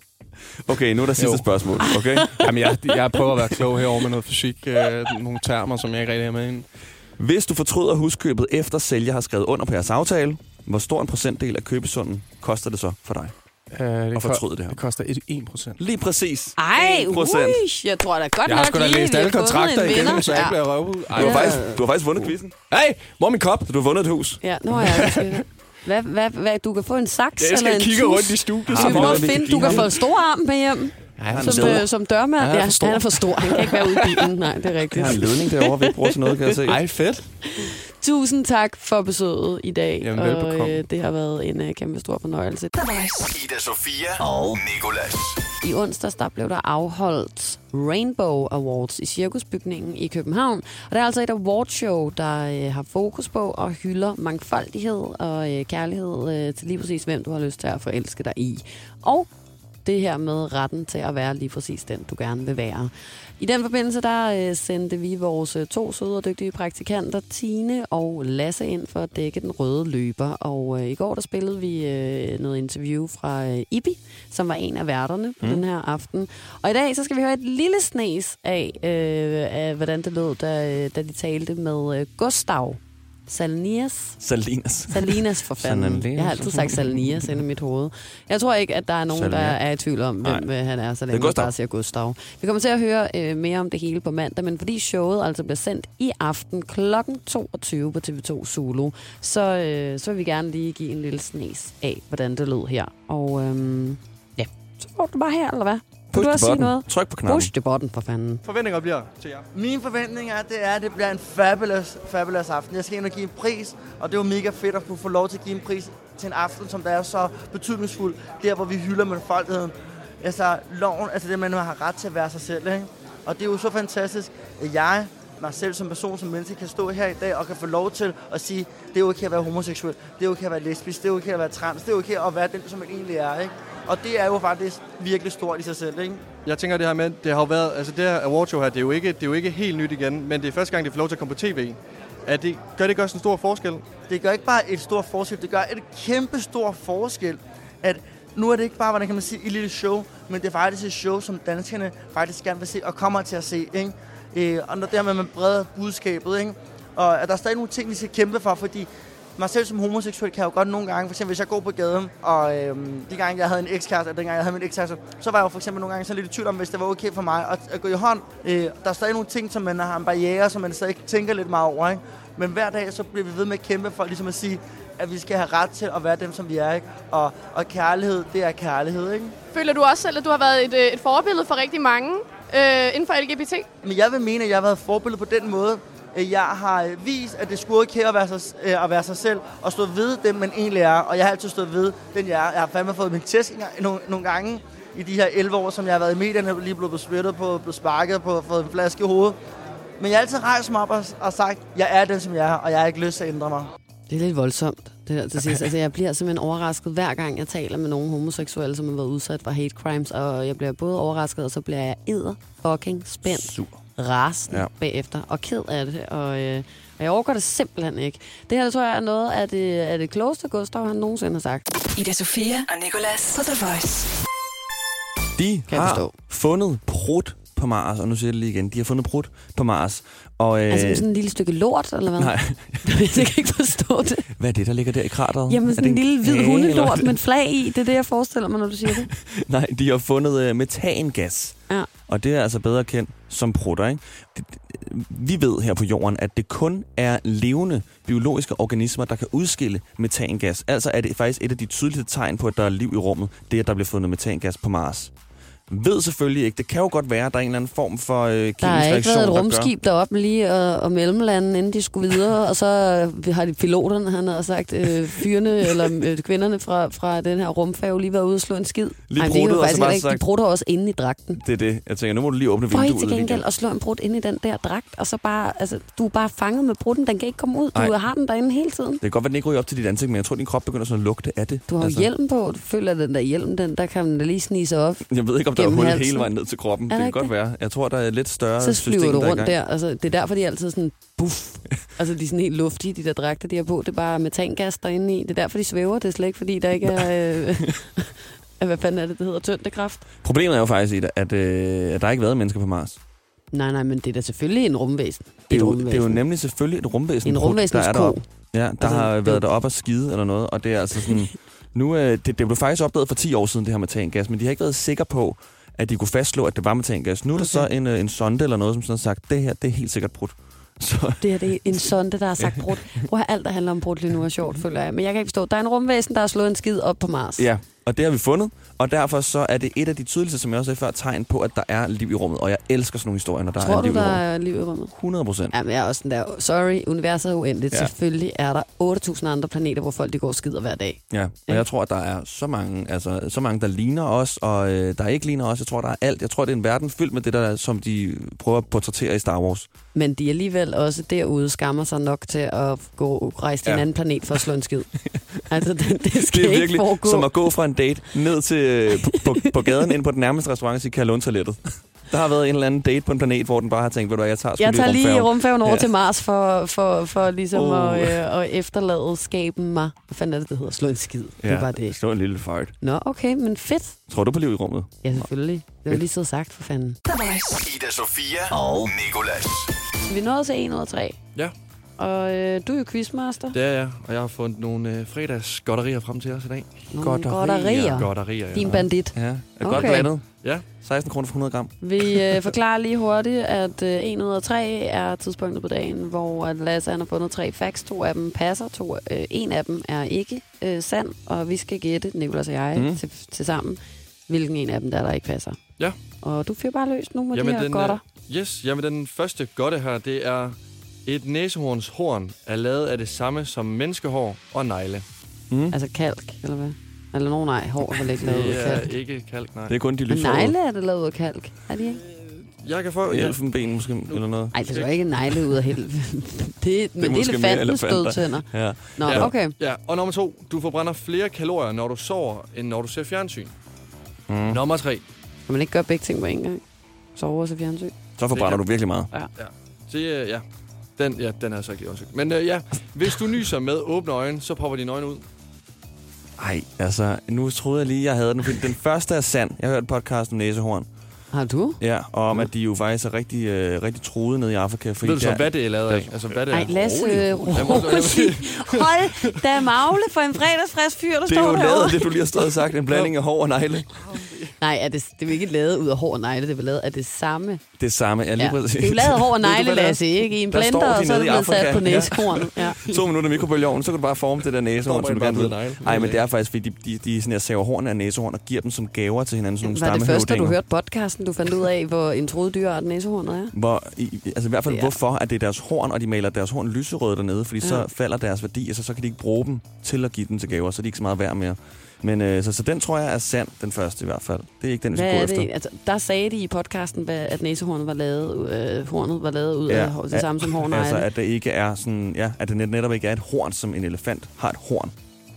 [SPEAKER 4] Okay, nu er der sidste
[SPEAKER 5] Jo.
[SPEAKER 4] spørgsmål, okay?
[SPEAKER 5] Jamen, jeg, jeg prøver at være klog herover med noget fysik, øh, nogle termer, som jeg ikke rigtig har med ind.
[SPEAKER 4] Hvis du fortryder huskøbet efter sælger har skrevet under på jeres aftale, hvor stor en procentdel af købesummen koster det så for dig?
[SPEAKER 5] Øh, det,
[SPEAKER 4] Og fortryde det her.
[SPEAKER 5] det koster et- 1 procent.
[SPEAKER 4] Lige præcis.
[SPEAKER 3] Ej,
[SPEAKER 4] 1%.
[SPEAKER 3] ui, jeg tror da godt
[SPEAKER 5] Jeg har
[SPEAKER 3] nok
[SPEAKER 5] sgu da
[SPEAKER 3] lige,
[SPEAKER 5] læst
[SPEAKER 3] vi har
[SPEAKER 5] alle
[SPEAKER 3] fundet
[SPEAKER 5] kontrakter
[SPEAKER 3] en
[SPEAKER 5] igennem,
[SPEAKER 3] vinder.
[SPEAKER 5] så jeg ikke bliver røvet ud. Ej,
[SPEAKER 4] Du har,
[SPEAKER 3] Ja.
[SPEAKER 4] faktisk, du har faktisk vundet quizzen.
[SPEAKER 5] Hey, mor min kop!
[SPEAKER 4] Du har vundet et hus.
[SPEAKER 3] Ja, nu har jeg det skidt. hvad, hvad, hvad, du kan få en saks
[SPEAKER 5] Jeg
[SPEAKER 3] eller
[SPEAKER 5] skal
[SPEAKER 3] en
[SPEAKER 5] kigge
[SPEAKER 3] tus.
[SPEAKER 5] rundt i studiet.
[SPEAKER 3] Skal vi
[SPEAKER 5] som
[SPEAKER 3] prøve
[SPEAKER 5] om-
[SPEAKER 3] at finde, du kan få en stor arm med hjem,
[SPEAKER 5] Ej, han er
[SPEAKER 3] som,
[SPEAKER 5] bedre.
[SPEAKER 3] øh, som dørmand.
[SPEAKER 5] Ja, han er for stor.
[SPEAKER 3] han er for stor. Han kan ikke være ude i bilen. Nej, det er
[SPEAKER 4] Jeg
[SPEAKER 3] rigtigt.
[SPEAKER 4] har en ledning derovre, vi ikke bruger til noget, kan jeg se.
[SPEAKER 5] Ej, fedt.
[SPEAKER 3] Tusind tak for besøget i dag.
[SPEAKER 5] Jamen,
[SPEAKER 3] og
[SPEAKER 5] velbekomme.
[SPEAKER 3] øh, det har været en øh, kæmpe stor fornøjelse.
[SPEAKER 1] The Voice.
[SPEAKER 2] Ida Sofia og Nikolas.
[SPEAKER 3] I onsdags der blev der afholdt Rainbow Awards i Cirkusbygningen i København. Og det er altså et awardshow, der øh, har fokus på og hylder mangfoldighed og øh, kærlighed øh, til lige præcis, hvem du har lyst til at forelske dig i. Og det her med retten til at være lige præcis den, du gerne vil være. I den forbindelse, der øh, sendte vi vores øh, to søde og dygtige praktikanter, Tine og Lasse, ind for at dække den røde løber. Og øh, i går, der spillede vi øh, noget interview fra øh, Ibi, som var en af værterne på mm. den her aften. Og i dag, så skal vi høre et lille snes af, øh, af hvordan det lød, da, øh, da de talte med øh, Gustav Salnias.
[SPEAKER 4] Salinas.
[SPEAKER 3] Salinas for fanden.
[SPEAKER 4] Salinas.
[SPEAKER 3] Jeg har altid sagt Salnias inde i mit hoved. Jeg tror ikke, at der er nogen, der
[SPEAKER 4] Salinas.
[SPEAKER 3] er i tvivl om, hvem
[SPEAKER 4] Nej.
[SPEAKER 3] Nej. han er, så
[SPEAKER 4] Det
[SPEAKER 3] længe
[SPEAKER 4] er
[SPEAKER 3] man
[SPEAKER 4] Gustav.
[SPEAKER 3] bare siger Gustav. Vi kommer til at høre øh, mere om det hele på mandag, men fordi showet altså bliver sendt i aften kl. 22 på TV2 Zulu, så, øh, så vil vi gerne lige give en øhm, lille snes af, hvordan det lød her. Og øh, ja, så får du bare her, eller hvad? Vil
[SPEAKER 4] Push
[SPEAKER 3] du
[SPEAKER 4] the
[SPEAKER 3] også sige
[SPEAKER 4] button.
[SPEAKER 3] noget?
[SPEAKER 4] Tryk på knappen.
[SPEAKER 3] Push the button, for fanden.
[SPEAKER 11] Forventninger bliver til jer. Mine forventninger er, det er, at det bliver en fabulous, fabulous aften. Jeg skal ind og give en pris, og det er jo mega fedt at kunne få lov til at give en pris til en aften, som der er så betydningsfuld. Der, hvor vi hylder mangfoldigheden. Altså, loven, altså det, man har ret til at være sig selv, ikke? Og det er jo så fantastisk, at jeg, mig selv som person, som menneske, kan stå her i dag og kan få lov til at sige, det er okay at være homoseksuel, det er okay at være lesbisk, det er okay at være trans, det er okay at være den, som man egentlig er, ikke? Og det er jo faktisk virkelig stort i sig selv, ikke?
[SPEAKER 10] Jeg tænker det her med, det har jo været, altså det her awardshow her, det er, jo ikke, det er jo ikke helt nyt igen, men det er første gang, det får lov til at komme på tv. Er det, gør det ikke også en stor forskel?
[SPEAKER 11] Det gør ikke bare et stort forskel, det gør et kæmpe stor forskel, at nu er det ikke bare, hvordan kan man sige, et lille show, men det er faktisk et show, som danskerne faktisk gerne vil se og kommer til at se, ikke? Øh, og når dermed man breder budskabet, ikke? Og at der er stadig nogle ting, vi skal kæmpe for, fordi mig selv som homoseksuel kan jeg jo godt nogle gange, for eksempel hvis jeg går på gaden, og øhm, de gange jeg havde en ekskæreste, og dengang jeg havde min ekskæreste, så var jeg jo for eksempel nogle gange så lidt i tvivl om, hvis det var okay for mig at, at gå i hånd. Øh, der er stadig nogle ting, som man har en barriere, som man stadig tænker lidt meget over, ikke? Men hver dag, så bliver vi ved med at kæmpe for ligesom at sige, at vi skal have ret til at være dem, som vi er, ikke? Og, og kærlighed, det er kærlighed, ikke?
[SPEAKER 12] Føler du også selv, at du har været et, øh, et forbillede for rigtig mange øh, inden for LGBT?
[SPEAKER 11] Men jeg vil mene, at jeg har været forbillede på den måde, at jeg har øh, vist, at det skulle ikke her at være, sig, øh, at være sig selv, og stå ved den, man egentlig er. Og jeg har altid stået ved den, jeg er. Jeg har fandme fået min tæsk engang- nogle, nogle gange i de her 11 år, som jeg har været i medierne, lige blevet beskyttet på, blevet sparket på, fået en flaske i hovedet. Men jeg har altid rejst mig op og, og sagt, jeg er den, som jeg er, og jeg har ikke lyst til at ændre mig.
[SPEAKER 3] Det er lidt voldsomt, det der til sidst. Altså, jeg bliver simpelthen overrasket hver gang, jeg taler med nogen homoseksuelle, som har været udsat for hate crimes, og jeg bliver både overrasket, og så bliver jeg edder fucking spændt. Sur. Rasende ja.
[SPEAKER 4] Ja.
[SPEAKER 3] bagefter, og ked af det, og, øh, og jeg overgår det simpelthen ikke. Det her, tror jeg, er noget af det, af det klogeste, Gustav han nogensinde har sagt.
[SPEAKER 4] Øh.
[SPEAKER 1] Ida Sofia og Nicolas på The Voice.
[SPEAKER 4] De
[SPEAKER 1] jeg
[SPEAKER 4] har
[SPEAKER 1] forstå.
[SPEAKER 4] fundet brudt på Mars, og nu siger jeg det lige igen. De har fundet brudt på Mars. Og, øh,
[SPEAKER 3] Øh, altså sådan et lille stykke lort, eller hvad?
[SPEAKER 4] Nej.
[SPEAKER 3] jeg kan ikke forstå det.
[SPEAKER 4] Hvad er det, der ligger der i krateret?
[SPEAKER 3] Jamen
[SPEAKER 4] Er
[SPEAKER 3] sådan
[SPEAKER 4] det
[SPEAKER 3] en lille hvid
[SPEAKER 4] kage,
[SPEAKER 3] hundelort
[SPEAKER 4] eller-
[SPEAKER 3] med en flag i. Det er det, jeg forestiller mig, når du siger det.
[SPEAKER 4] Nej, de har fundet øh, metangas.
[SPEAKER 3] Ja.
[SPEAKER 4] Og det er altså bedre kendt som prutter, ikke? Det- det- Vi ved her på jorden, at det kun er levende biologiske organismer, der kan udskille metangas. Altså er det faktisk et af de tydeligste tegn på, at der er liv i rummet, det er, at der bliver fundet metangas på Mars. Ved selvfølgelig ikke. Det kan jo godt være, at der er en eller anden form for øh, kemisk
[SPEAKER 3] Der har ikke
[SPEAKER 4] reaktion,
[SPEAKER 3] været et
[SPEAKER 4] der gør-
[SPEAKER 3] rumskib deroppe lige og, og mellemlande, inden de skulle videre, og så øh, har de piloterne, han har sagt, øh, fyrene eller øh, kvinderne fra, fra den her rumfærge lige været ude og slå en skid.
[SPEAKER 4] Lige
[SPEAKER 3] Ej, det
[SPEAKER 4] pruttet,
[SPEAKER 3] kan
[SPEAKER 4] og så
[SPEAKER 3] jo faktisk
[SPEAKER 4] bare
[SPEAKER 3] heller ikke. De
[SPEAKER 4] sagt-
[SPEAKER 3] prutter også inde i dragten.
[SPEAKER 4] Det er det. Jeg tænker, nu må du lige åbne
[SPEAKER 3] Prøv
[SPEAKER 4] vinduet.
[SPEAKER 3] I til gengæld at slå en brud ind i den der dragt, og så bare, altså, du er bare fanget med brutten, den kan ikke komme ud, du
[SPEAKER 4] Nej.
[SPEAKER 3] har den derinde hele tiden.
[SPEAKER 4] Det kan godt være, den ikke ryger op til dit ansigt, men jeg tror, din krop begynder sådan at lugte af det.
[SPEAKER 3] Du har altså. hjelm på, du føler at den der hjelm, den der kan den da lige snige sig op.
[SPEAKER 4] Jeg ved ikke, om der er
[SPEAKER 3] gennem
[SPEAKER 4] hul
[SPEAKER 3] halsen.
[SPEAKER 4] hele vejen ned til kroppen.
[SPEAKER 3] Er
[SPEAKER 4] Det
[SPEAKER 3] der
[SPEAKER 4] kan
[SPEAKER 3] ikke
[SPEAKER 4] godt være. Jeg tror, der er et lidt større
[SPEAKER 3] så flyver
[SPEAKER 4] system,
[SPEAKER 3] du
[SPEAKER 4] der er i
[SPEAKER 3] rundt
[SPEAKER 4] gang.
[SPEAKER 3] der. Altså, det er derfor, de er altid sådan, buff. Altså, de er sådan helt luftige, de der dragter, de har på. Det er bare metangas derinde i. Det er derfor, de svæver. Det er slet ikke, fordi der ikke er... Øh, hvad fanden er det, det hedder? Tyndekraft?
[SPEAKER 4] Problemet er jo faktisk, Ida, at, øh, at der ikke har været mennesker på Mars. Det
[SPEAKER 3] Nej, nej, men det er da selvfølgelig en rumvæsen.
[SPEAKER 4] er, jo,
[SPEAKER 3] rumvæsen.
[SPEAKER 4] det er jo nemlig selvfølgelig et rumvæsen.
[SPEAKER 3] En
[SPEAKER 4] Prut,
[SPEAKER 3] rumvæsens
[SPEAKER 4] der er
[SPEAKER 3] ko.
[SPEAKER 4] deroppe. Ja, der
[SPEAKER 3] Altså,
[SPEAKER 4] altså, har
[SPEAKER 3] det-
[SPEAKER 4] været deroppe og skide eller noget, og det er altså sådan... nu, øh, det, det blev faktisk opdaget for 10 år siden, det her metangas, men de har ikke været sikre på, at de kunne fastslå, at det var metangas. Nu er der så en, øh, en sonde eller noget, som sådan har sagt, det her, det er helt sikkert brudt. Så
[SPEAKER 3] Det her det er en sonde, der har sagt brudt. Prøv at høre, alt, der handler om brudt lige nu er sjovt, føler jeg. Men jeg kan ikke forstå, der er en rumvæsen, der har slået en skid op på Mars.
[SPEAKER 4] Ja, og det har vi fundet, og derfor så er det et af de tydeligste, som jeg også sagde før, tegn på, at der er liv i rummet. Og jeg elsker sådan nogle historier, når der
[SPEAKER 3] Tror
[SPEAKER 4] er liv
[SPEAKER 3] du, der
[SPEAKER 4] i rummet.
[SPEAKER 3] er liv i rummet?
[SPEAKER 4] 100 procent.
[SPEAKER 3] Jamen, jeg er også sådan der, sorry, universet er uendeligt. Ja.
[SPEAKER 4] Ja.
[SPEAKER 3] Selvfølgelig er der 8.000 andre planeter, hvor folk de går og skider hver dag.
[SPEAKER 4] Ja, og jeg tror, at der er så mange, altså, så mange der ligner os, og øh, der ikke ligner os. Jeg tror, der er alt. Jeg tror, det er en verden fyldt med det, der, som de prøver at portrættere i Star Wars.
[SPEAKER 3] Men de alligevel også derude skammer sig nok til at gå rejse til ja. en
[SPEAKER 4] Ja.
[SPEAKER 3] anden planet for at slå en skid. altså, det, det skal
[SPEAKER 4] det er
[SPEAKER 3] ikke
[SPEAKER 4] virkelig
[SPEAKER 3] foregå.
[SPEAKER 4] som at gå fra en date ned til øh, på, på, på gaden, ind på den nærmeste restaurant og sige, kan jeg låne toilettet? Der har været en eller anden date på en planet, hvor den bare har tænkt, ved du hvad, jeg tager sgu
[SPEAKER 3] jeg tager lige
[SPEAKER 4] rumfærgen."
[SPEAKER 3] rumfærgen over ja.
[SPEAKER 4] Ja.
[SPEAKER 3] til Mars for, for, for ligesom
[SPEAKER 4] Uh.
[SPEAKER 3] at, øh, at efterlade skaben mig. Hvad fanden er det, det hedder? Slå en skid. Ja. Det var det.
[SPEAKER 4] Slå en lille fart.
[SPEAKER 3] Nå, okay, men fedt.
[SPEAKER 4] Tror du på liv i rummet?
[SPEAKER 3] Ja, selvfølgelig. Det var lige så sagt, for fanden.
[SPEAKER 2] Ida Sofia og Nikolas.
[SPEAKER 3] Så vi nåede til 1 ud af 3.
[SPEAKER 10] Ja.
[SPEAKER 3] Og øh, du er jo quizmaster.
[SPEAKER 10] Det er jeg, og jeg har fundet nogle øh, fredagsgodterier frem til os i dag.
[SPEAKER 3] Nogle Mm, godterier.
[SPEAKER 10] Godterier, ja.
[SPEAKER 3] Din bandit.
[SPEAKER 4] Ja,
[SPEAKER 3] er godt Okay. blandet.
[SPEAKER 10] Ja.
[SPEAKER 4] 16 kroner for 100 gram.
[SPEAKER 3] Vi øh, forklarer lige hurtigt, at øh, 1 ud af 3 er tidspunktet på dagen, hvor at Lasse han har fundet tre facts. To af dem passer, to, øh, en af dem er ikke øh, sand, og vi skal gætte, Nicolas og jeg, mm.
[SPEAKER 4] Mm.
[SPEAKER 3] til, til sammen, hvilken en af dem der, er, der ikke passer.
[SPEAKER 5] Ja.
[SPEAKER 3] Og du fyrer bare løs nu med de her
[SPEAKER 5] den,
[SPEAKER 3] godter.
[SPEAKER 5] øh, Yes, jamen den første godte her, det er... Et næsehorns horn er lavet af det samme som menneskehår og negle.
[SPEAKER 3] Mm. Altså kalk, eller hvad? Eller nogen nej, hår er vel ikke lavet ud
[SPEAKER 5] Det
[SPEAKER 3] af
[SPEAKER 5] er
[SPEAKER 3] kalk.
[SPEAKER 5] ikke kalk, nej.
[SPEAKER 4] Det er kun de
[SPEAKER 3] Men
[SPEAKER 4] lyserøde.
[SPEAKER 3] negle er det lavet ud af kalk, er det ikke?
[SPEAKER 5] Jeg kan få...
[SPEAKER 4] I elfenben måske, eller noget.
[SPEAKER 3] Nej, det er jo ikke en negle ud af helvede. det, er, men det
[SPEAKER 4] måske
[SPEAKER 3] er
[SPEAKER 4] mere
[SPEAKER 3] elefantens
[SPEAKER 4] elefanter.
[SPEAKER 3] dødtænder.
[SPEAKER 4] Ja.
[SPEAKER 3] Nå,
[SPEAKER 5] ja.
[SPEAKER 3] okay.
[SPEAKER 5] Ja, og nummer to. Du forbrænder flere kalorier, når du sover, end når du ser fjernsyn.
[SPEAKER 4] Mm.
[SPEAKER 5] Nummer tre.
[SPEAKER 3] Kan man ikke gøre begge ting på én gang? Sove og se fjernsyn?
[SPEAKER 4] Så forbrænder du virkelig meget.
[SPEAKER 3] Ja.
[SPEAKER 5] Ja. Det, øh, ja. Den, ja, den er så ikke lige undersøgt. Men øh, ja, hvis du nyser med åbne øjne, så popper dine øjne ud.
[SPEAKER 4] Ej, altså, nu troede jeg lige, jeg havde den. fordi Den første er sand. Jeg hørte podcasten Næsehorn.
[SPEAKER 3] Har du?
[SPEAKER 4] Ja, og om, at de jo faktisk er rigtig, øh, rigtig truede nede i Afrika. Fordi
[SPEAKER 5] Ved du så,
[SPEAKER 4] der-
[SPEAKER 5] hvad det er lavet af? Altså, hvad det er?
[SPEAKER 3] Ej, Lasse,
[SPEAKER 5] Rolig.
[SPEAKER 4] altså,
[SPEAKER 5] Jeg må- jeg må
[SPEAKER 3] rolig.
[SPEAKER 5] sige-
[SPEAKER 3] Hold da magle for en fredagsfrisk fyr, der
[SPEAKER 4] Det er
[SPEAKER 3] står
[SPEAKER 4] jo
[SPEAKER 3] derovre.
[SPEAKER 4] lavet, det du lige har stået og sagt, en blanding af hår og negle.
[SPEAKER 3] Nej, er det, det er jo ikke lavet ud af hår og negle, det er vel lavet af det samme.
[SPEAKER 4] Det samme, ja, lige
[SPEAKER 3] Ja.
[SPEAKER 4] præcis.
[SPEAKER 3] Det er jo lavet af hår og
[SPEAKER 4] Ved du,
[SPEAKER 3] negle,
[SPEAKER 4] hvad det er?
[SPEAKER 3] Lasse, ikke? I en
[SPEAKER 4] Der
[SPEAKER 3] blender,
[SPEAKER 4] står de
[SPEAKER 3] og så
[SPEAKER 4] nede
[SPEAKER 3] er det
[SPEAKER 4] i
[SPEAKER 3] blevet sat
[SPEAKER 4] Afrika.
[SPEAKER 3] på næsekornet. Ja.
[SPEAKER 4] to minutter i mikroølgeovnen, så kan du bare forme det der næsehorn,
[SPEAKER 5] Kommer
[SPEAKER 4] som du
[SPEAKER 5] bare øh,
[SPEAKER 4] gerne vil.
[SPEAKER 5] med negle.
[SPEAKER 4] Nej, men det er faktisk, fordi de, de, de sådan her, saver horn af næsehorn og giver dem som gaver til hinanden, sådan nogle
[SPEAKER 3] Var det første, du
[SPEAKER 4] stammehøvdinger.
[SPEAKER 3] hørte podcasten, du fandt ud af, hvor en troet dyreart næsehornet er?
[SPEAKER 4] Hvor, i, altså i hvert fald, ja. hvorfor at det er deres horn, og de maler deres horn lyserøde dernede, fordi ja.
[SPEAKER 3] Ja.
[SPEAKER 4] så falder deres værdi, og så, så kan de ikke bruge dem til at give dem til gaver, så er de ikke så meget værd mere. Men øh, så, så den tror jeg er sand, den første i hvert fald. Det er ikke den, vi
[SPEAKER 3] Hvad
[SPEAKER 4] skal gå
[SPEAKER 3] er
[SPEAKER 4] efter.
[SPEAKER 3] det? Altså, der sagde de i podcasten, hvad, at næsehornet var lavet, øh, hornet var lavet ud af hår- det
[SPEAKER 4] at-
[SPEAKER 3] samme som hårnegle.
[SPEAKER 4] Altså, at det ikke er sådan, ja, at det net- netop ikke er et horn, som en elefant har et horn.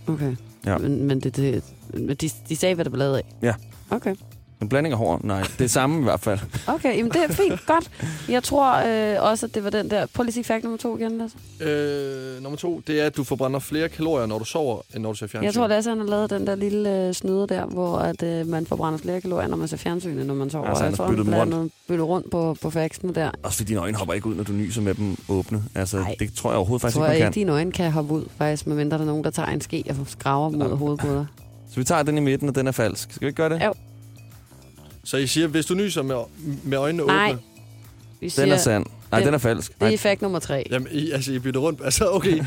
[SPEAKER 3] Okay.
[SPEAKER 4] Ja.
[SPEAKER 3] Men, men det, det, men de, de sagde, hvad det var lavet af.
[SPEAKER 4] Ja.
[SPEAKER 3] Okay.
[SPEAKER 4] En blanding af hår, nej. Det er samme i hvert fald.
[SPEAKER 3] Okay, jamen det er fint. Godt. Jeg tror øh, også, at det var den der... Prøv lige at sige fact nummer to igen, Lasse.
[SPEAKER 5] Øh, nummer to, det er, at du forbrænder flere kalorier, når du sover, end når du ser fjernsyn.
[SPEAKER 3] Jeg tror, Lasse han har lavet den der lille øh, snyde der, hvor at, øh, man forbrænder flere kalorier, når man ser fjernsyn, end når man sover.
[SPEAKER 4] Altså, han
[SPEAKER 3] jeg
[SPEAKER 4] har
[SPEAKER 3] tror,
[SPEAKER 4] byttet dem rundt.
[SPEAKER 3] blandet- byttet rundt på, på faxen der.
[SPEAKER 4] Også fordi dine øjne hopper ikke ud, når du nyser med dem åbne. Altså,
[SPEAKER 3] Nej.
[SPEAKER 4] det tror jeg overhovedet
[SPEAKER 3] Jeg
[SPEAKER 4] faktisk
[SPEAKER 3] tror jeg
[SPEAKER 4] ikke,
[SPEAKER 3] ikke,
[SPEAKER 4] man kan.
[SPEAKER 3] dine øjne kan hoppe ud, faktisk, medmindre der er nogen, der tager en ske og skraver mod hovedet på dig.
[SPEAKER 4] Så vi tager den i midten, og den er falsk. Skal vi ikke gøre det?
[SPEAKER 3] Jo.
[SPEAKER 5] Så I siger, hvis du nyser med, med øjnene
[SPEAKER 3] Nej.
[SPEAKER 5] åbne...
[SPEAKER 3] Vi
[SPEAKER 4] Den er sand. Nej, den er falsk.
[SPEAKER 3] Det
[SPEAKER 4] Nej.
[SPEAKER 3] er fact nummer tre.
[SPEAKER 5] Jamen, I, altså, I bytter rundt. Altså, okay.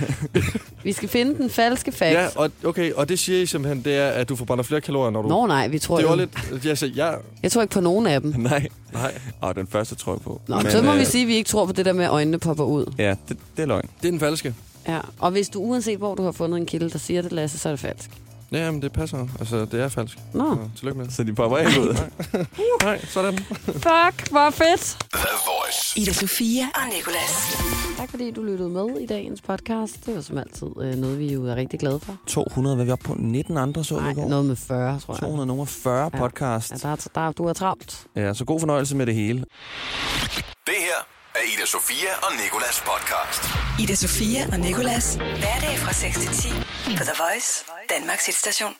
[SPEAKER 3] Vi skal finde den falske fact.
[SPEAKER 5] ja, og, okay, og det siger I simpelthen, det er, at du forbrænder flere kalorier, når du...
[SPEAKER 3] Nå nej, vi tror
[SPEAKER 5] det
[SPEAKER 3] jo-
[SPEAKER 5] var lidt... Altså, ja,
[SPEAKER 3] Jeg tror ikke på nogen af dem.
[SPEAKER 4] Nej.
[SPEAKER 5] Nej.
[SPEAKER 4] Og den første tror jeg på.
[SPEAKER 3] Nå, men, så må
[SPEAKER 4] øh,
[SPEAKER 3] vi sige, at vi ikke tror på det der med, at øjnene popper ud.
[SPEAKER 4] Ja, det, det er løgn.
[SPEAKER 5] det er den falske.
[SPEAKER 3] Ja. Og hvis du uanset hvor du har fundet en kilde, der siger det, Lasse, så er det falsk.
[SPEAKER 5] Ja, men det passer. Altså, det er falsk.
[SPEAKER 3] Nå.
[SPEAKER 5] Så, tillykke med det.
[SPEAKER 4] Så de popper ikke ud.
[SPEAKER 5] Nej, sådan.
[SPEAKER 3] Fuck, hvor fedt!
[SPEAKER 13] The Voice.
[SPEAKER 1] Ida Sofia og Nicolas.
[SPEAKER 3] Tak fordi du lyttede med i dagens podcast. Det var som altid øh, noget, vi jo er rigtig glade for.
[SPEAKER 4] 200, hvad er vi oppe på? 19 andre så vi i går.
[SPEAKER 3] Noget med 40, tror jeg.
[SPEAKER 4] 200 nummer 40 podcast.
[SPEAKER 3] Ja, der, er- der, er- du er travlt.
[SPEAKER 4] Ja, så god fornøjelse med det hele.
[SPEAKER 13] Det her er Ida Sofia og Nikolas podcast.
[SPEAKER 1] Ida Sofia og Nicolas. Hverdag fra 6 til 10 på The Voice, Danmarks hitstation.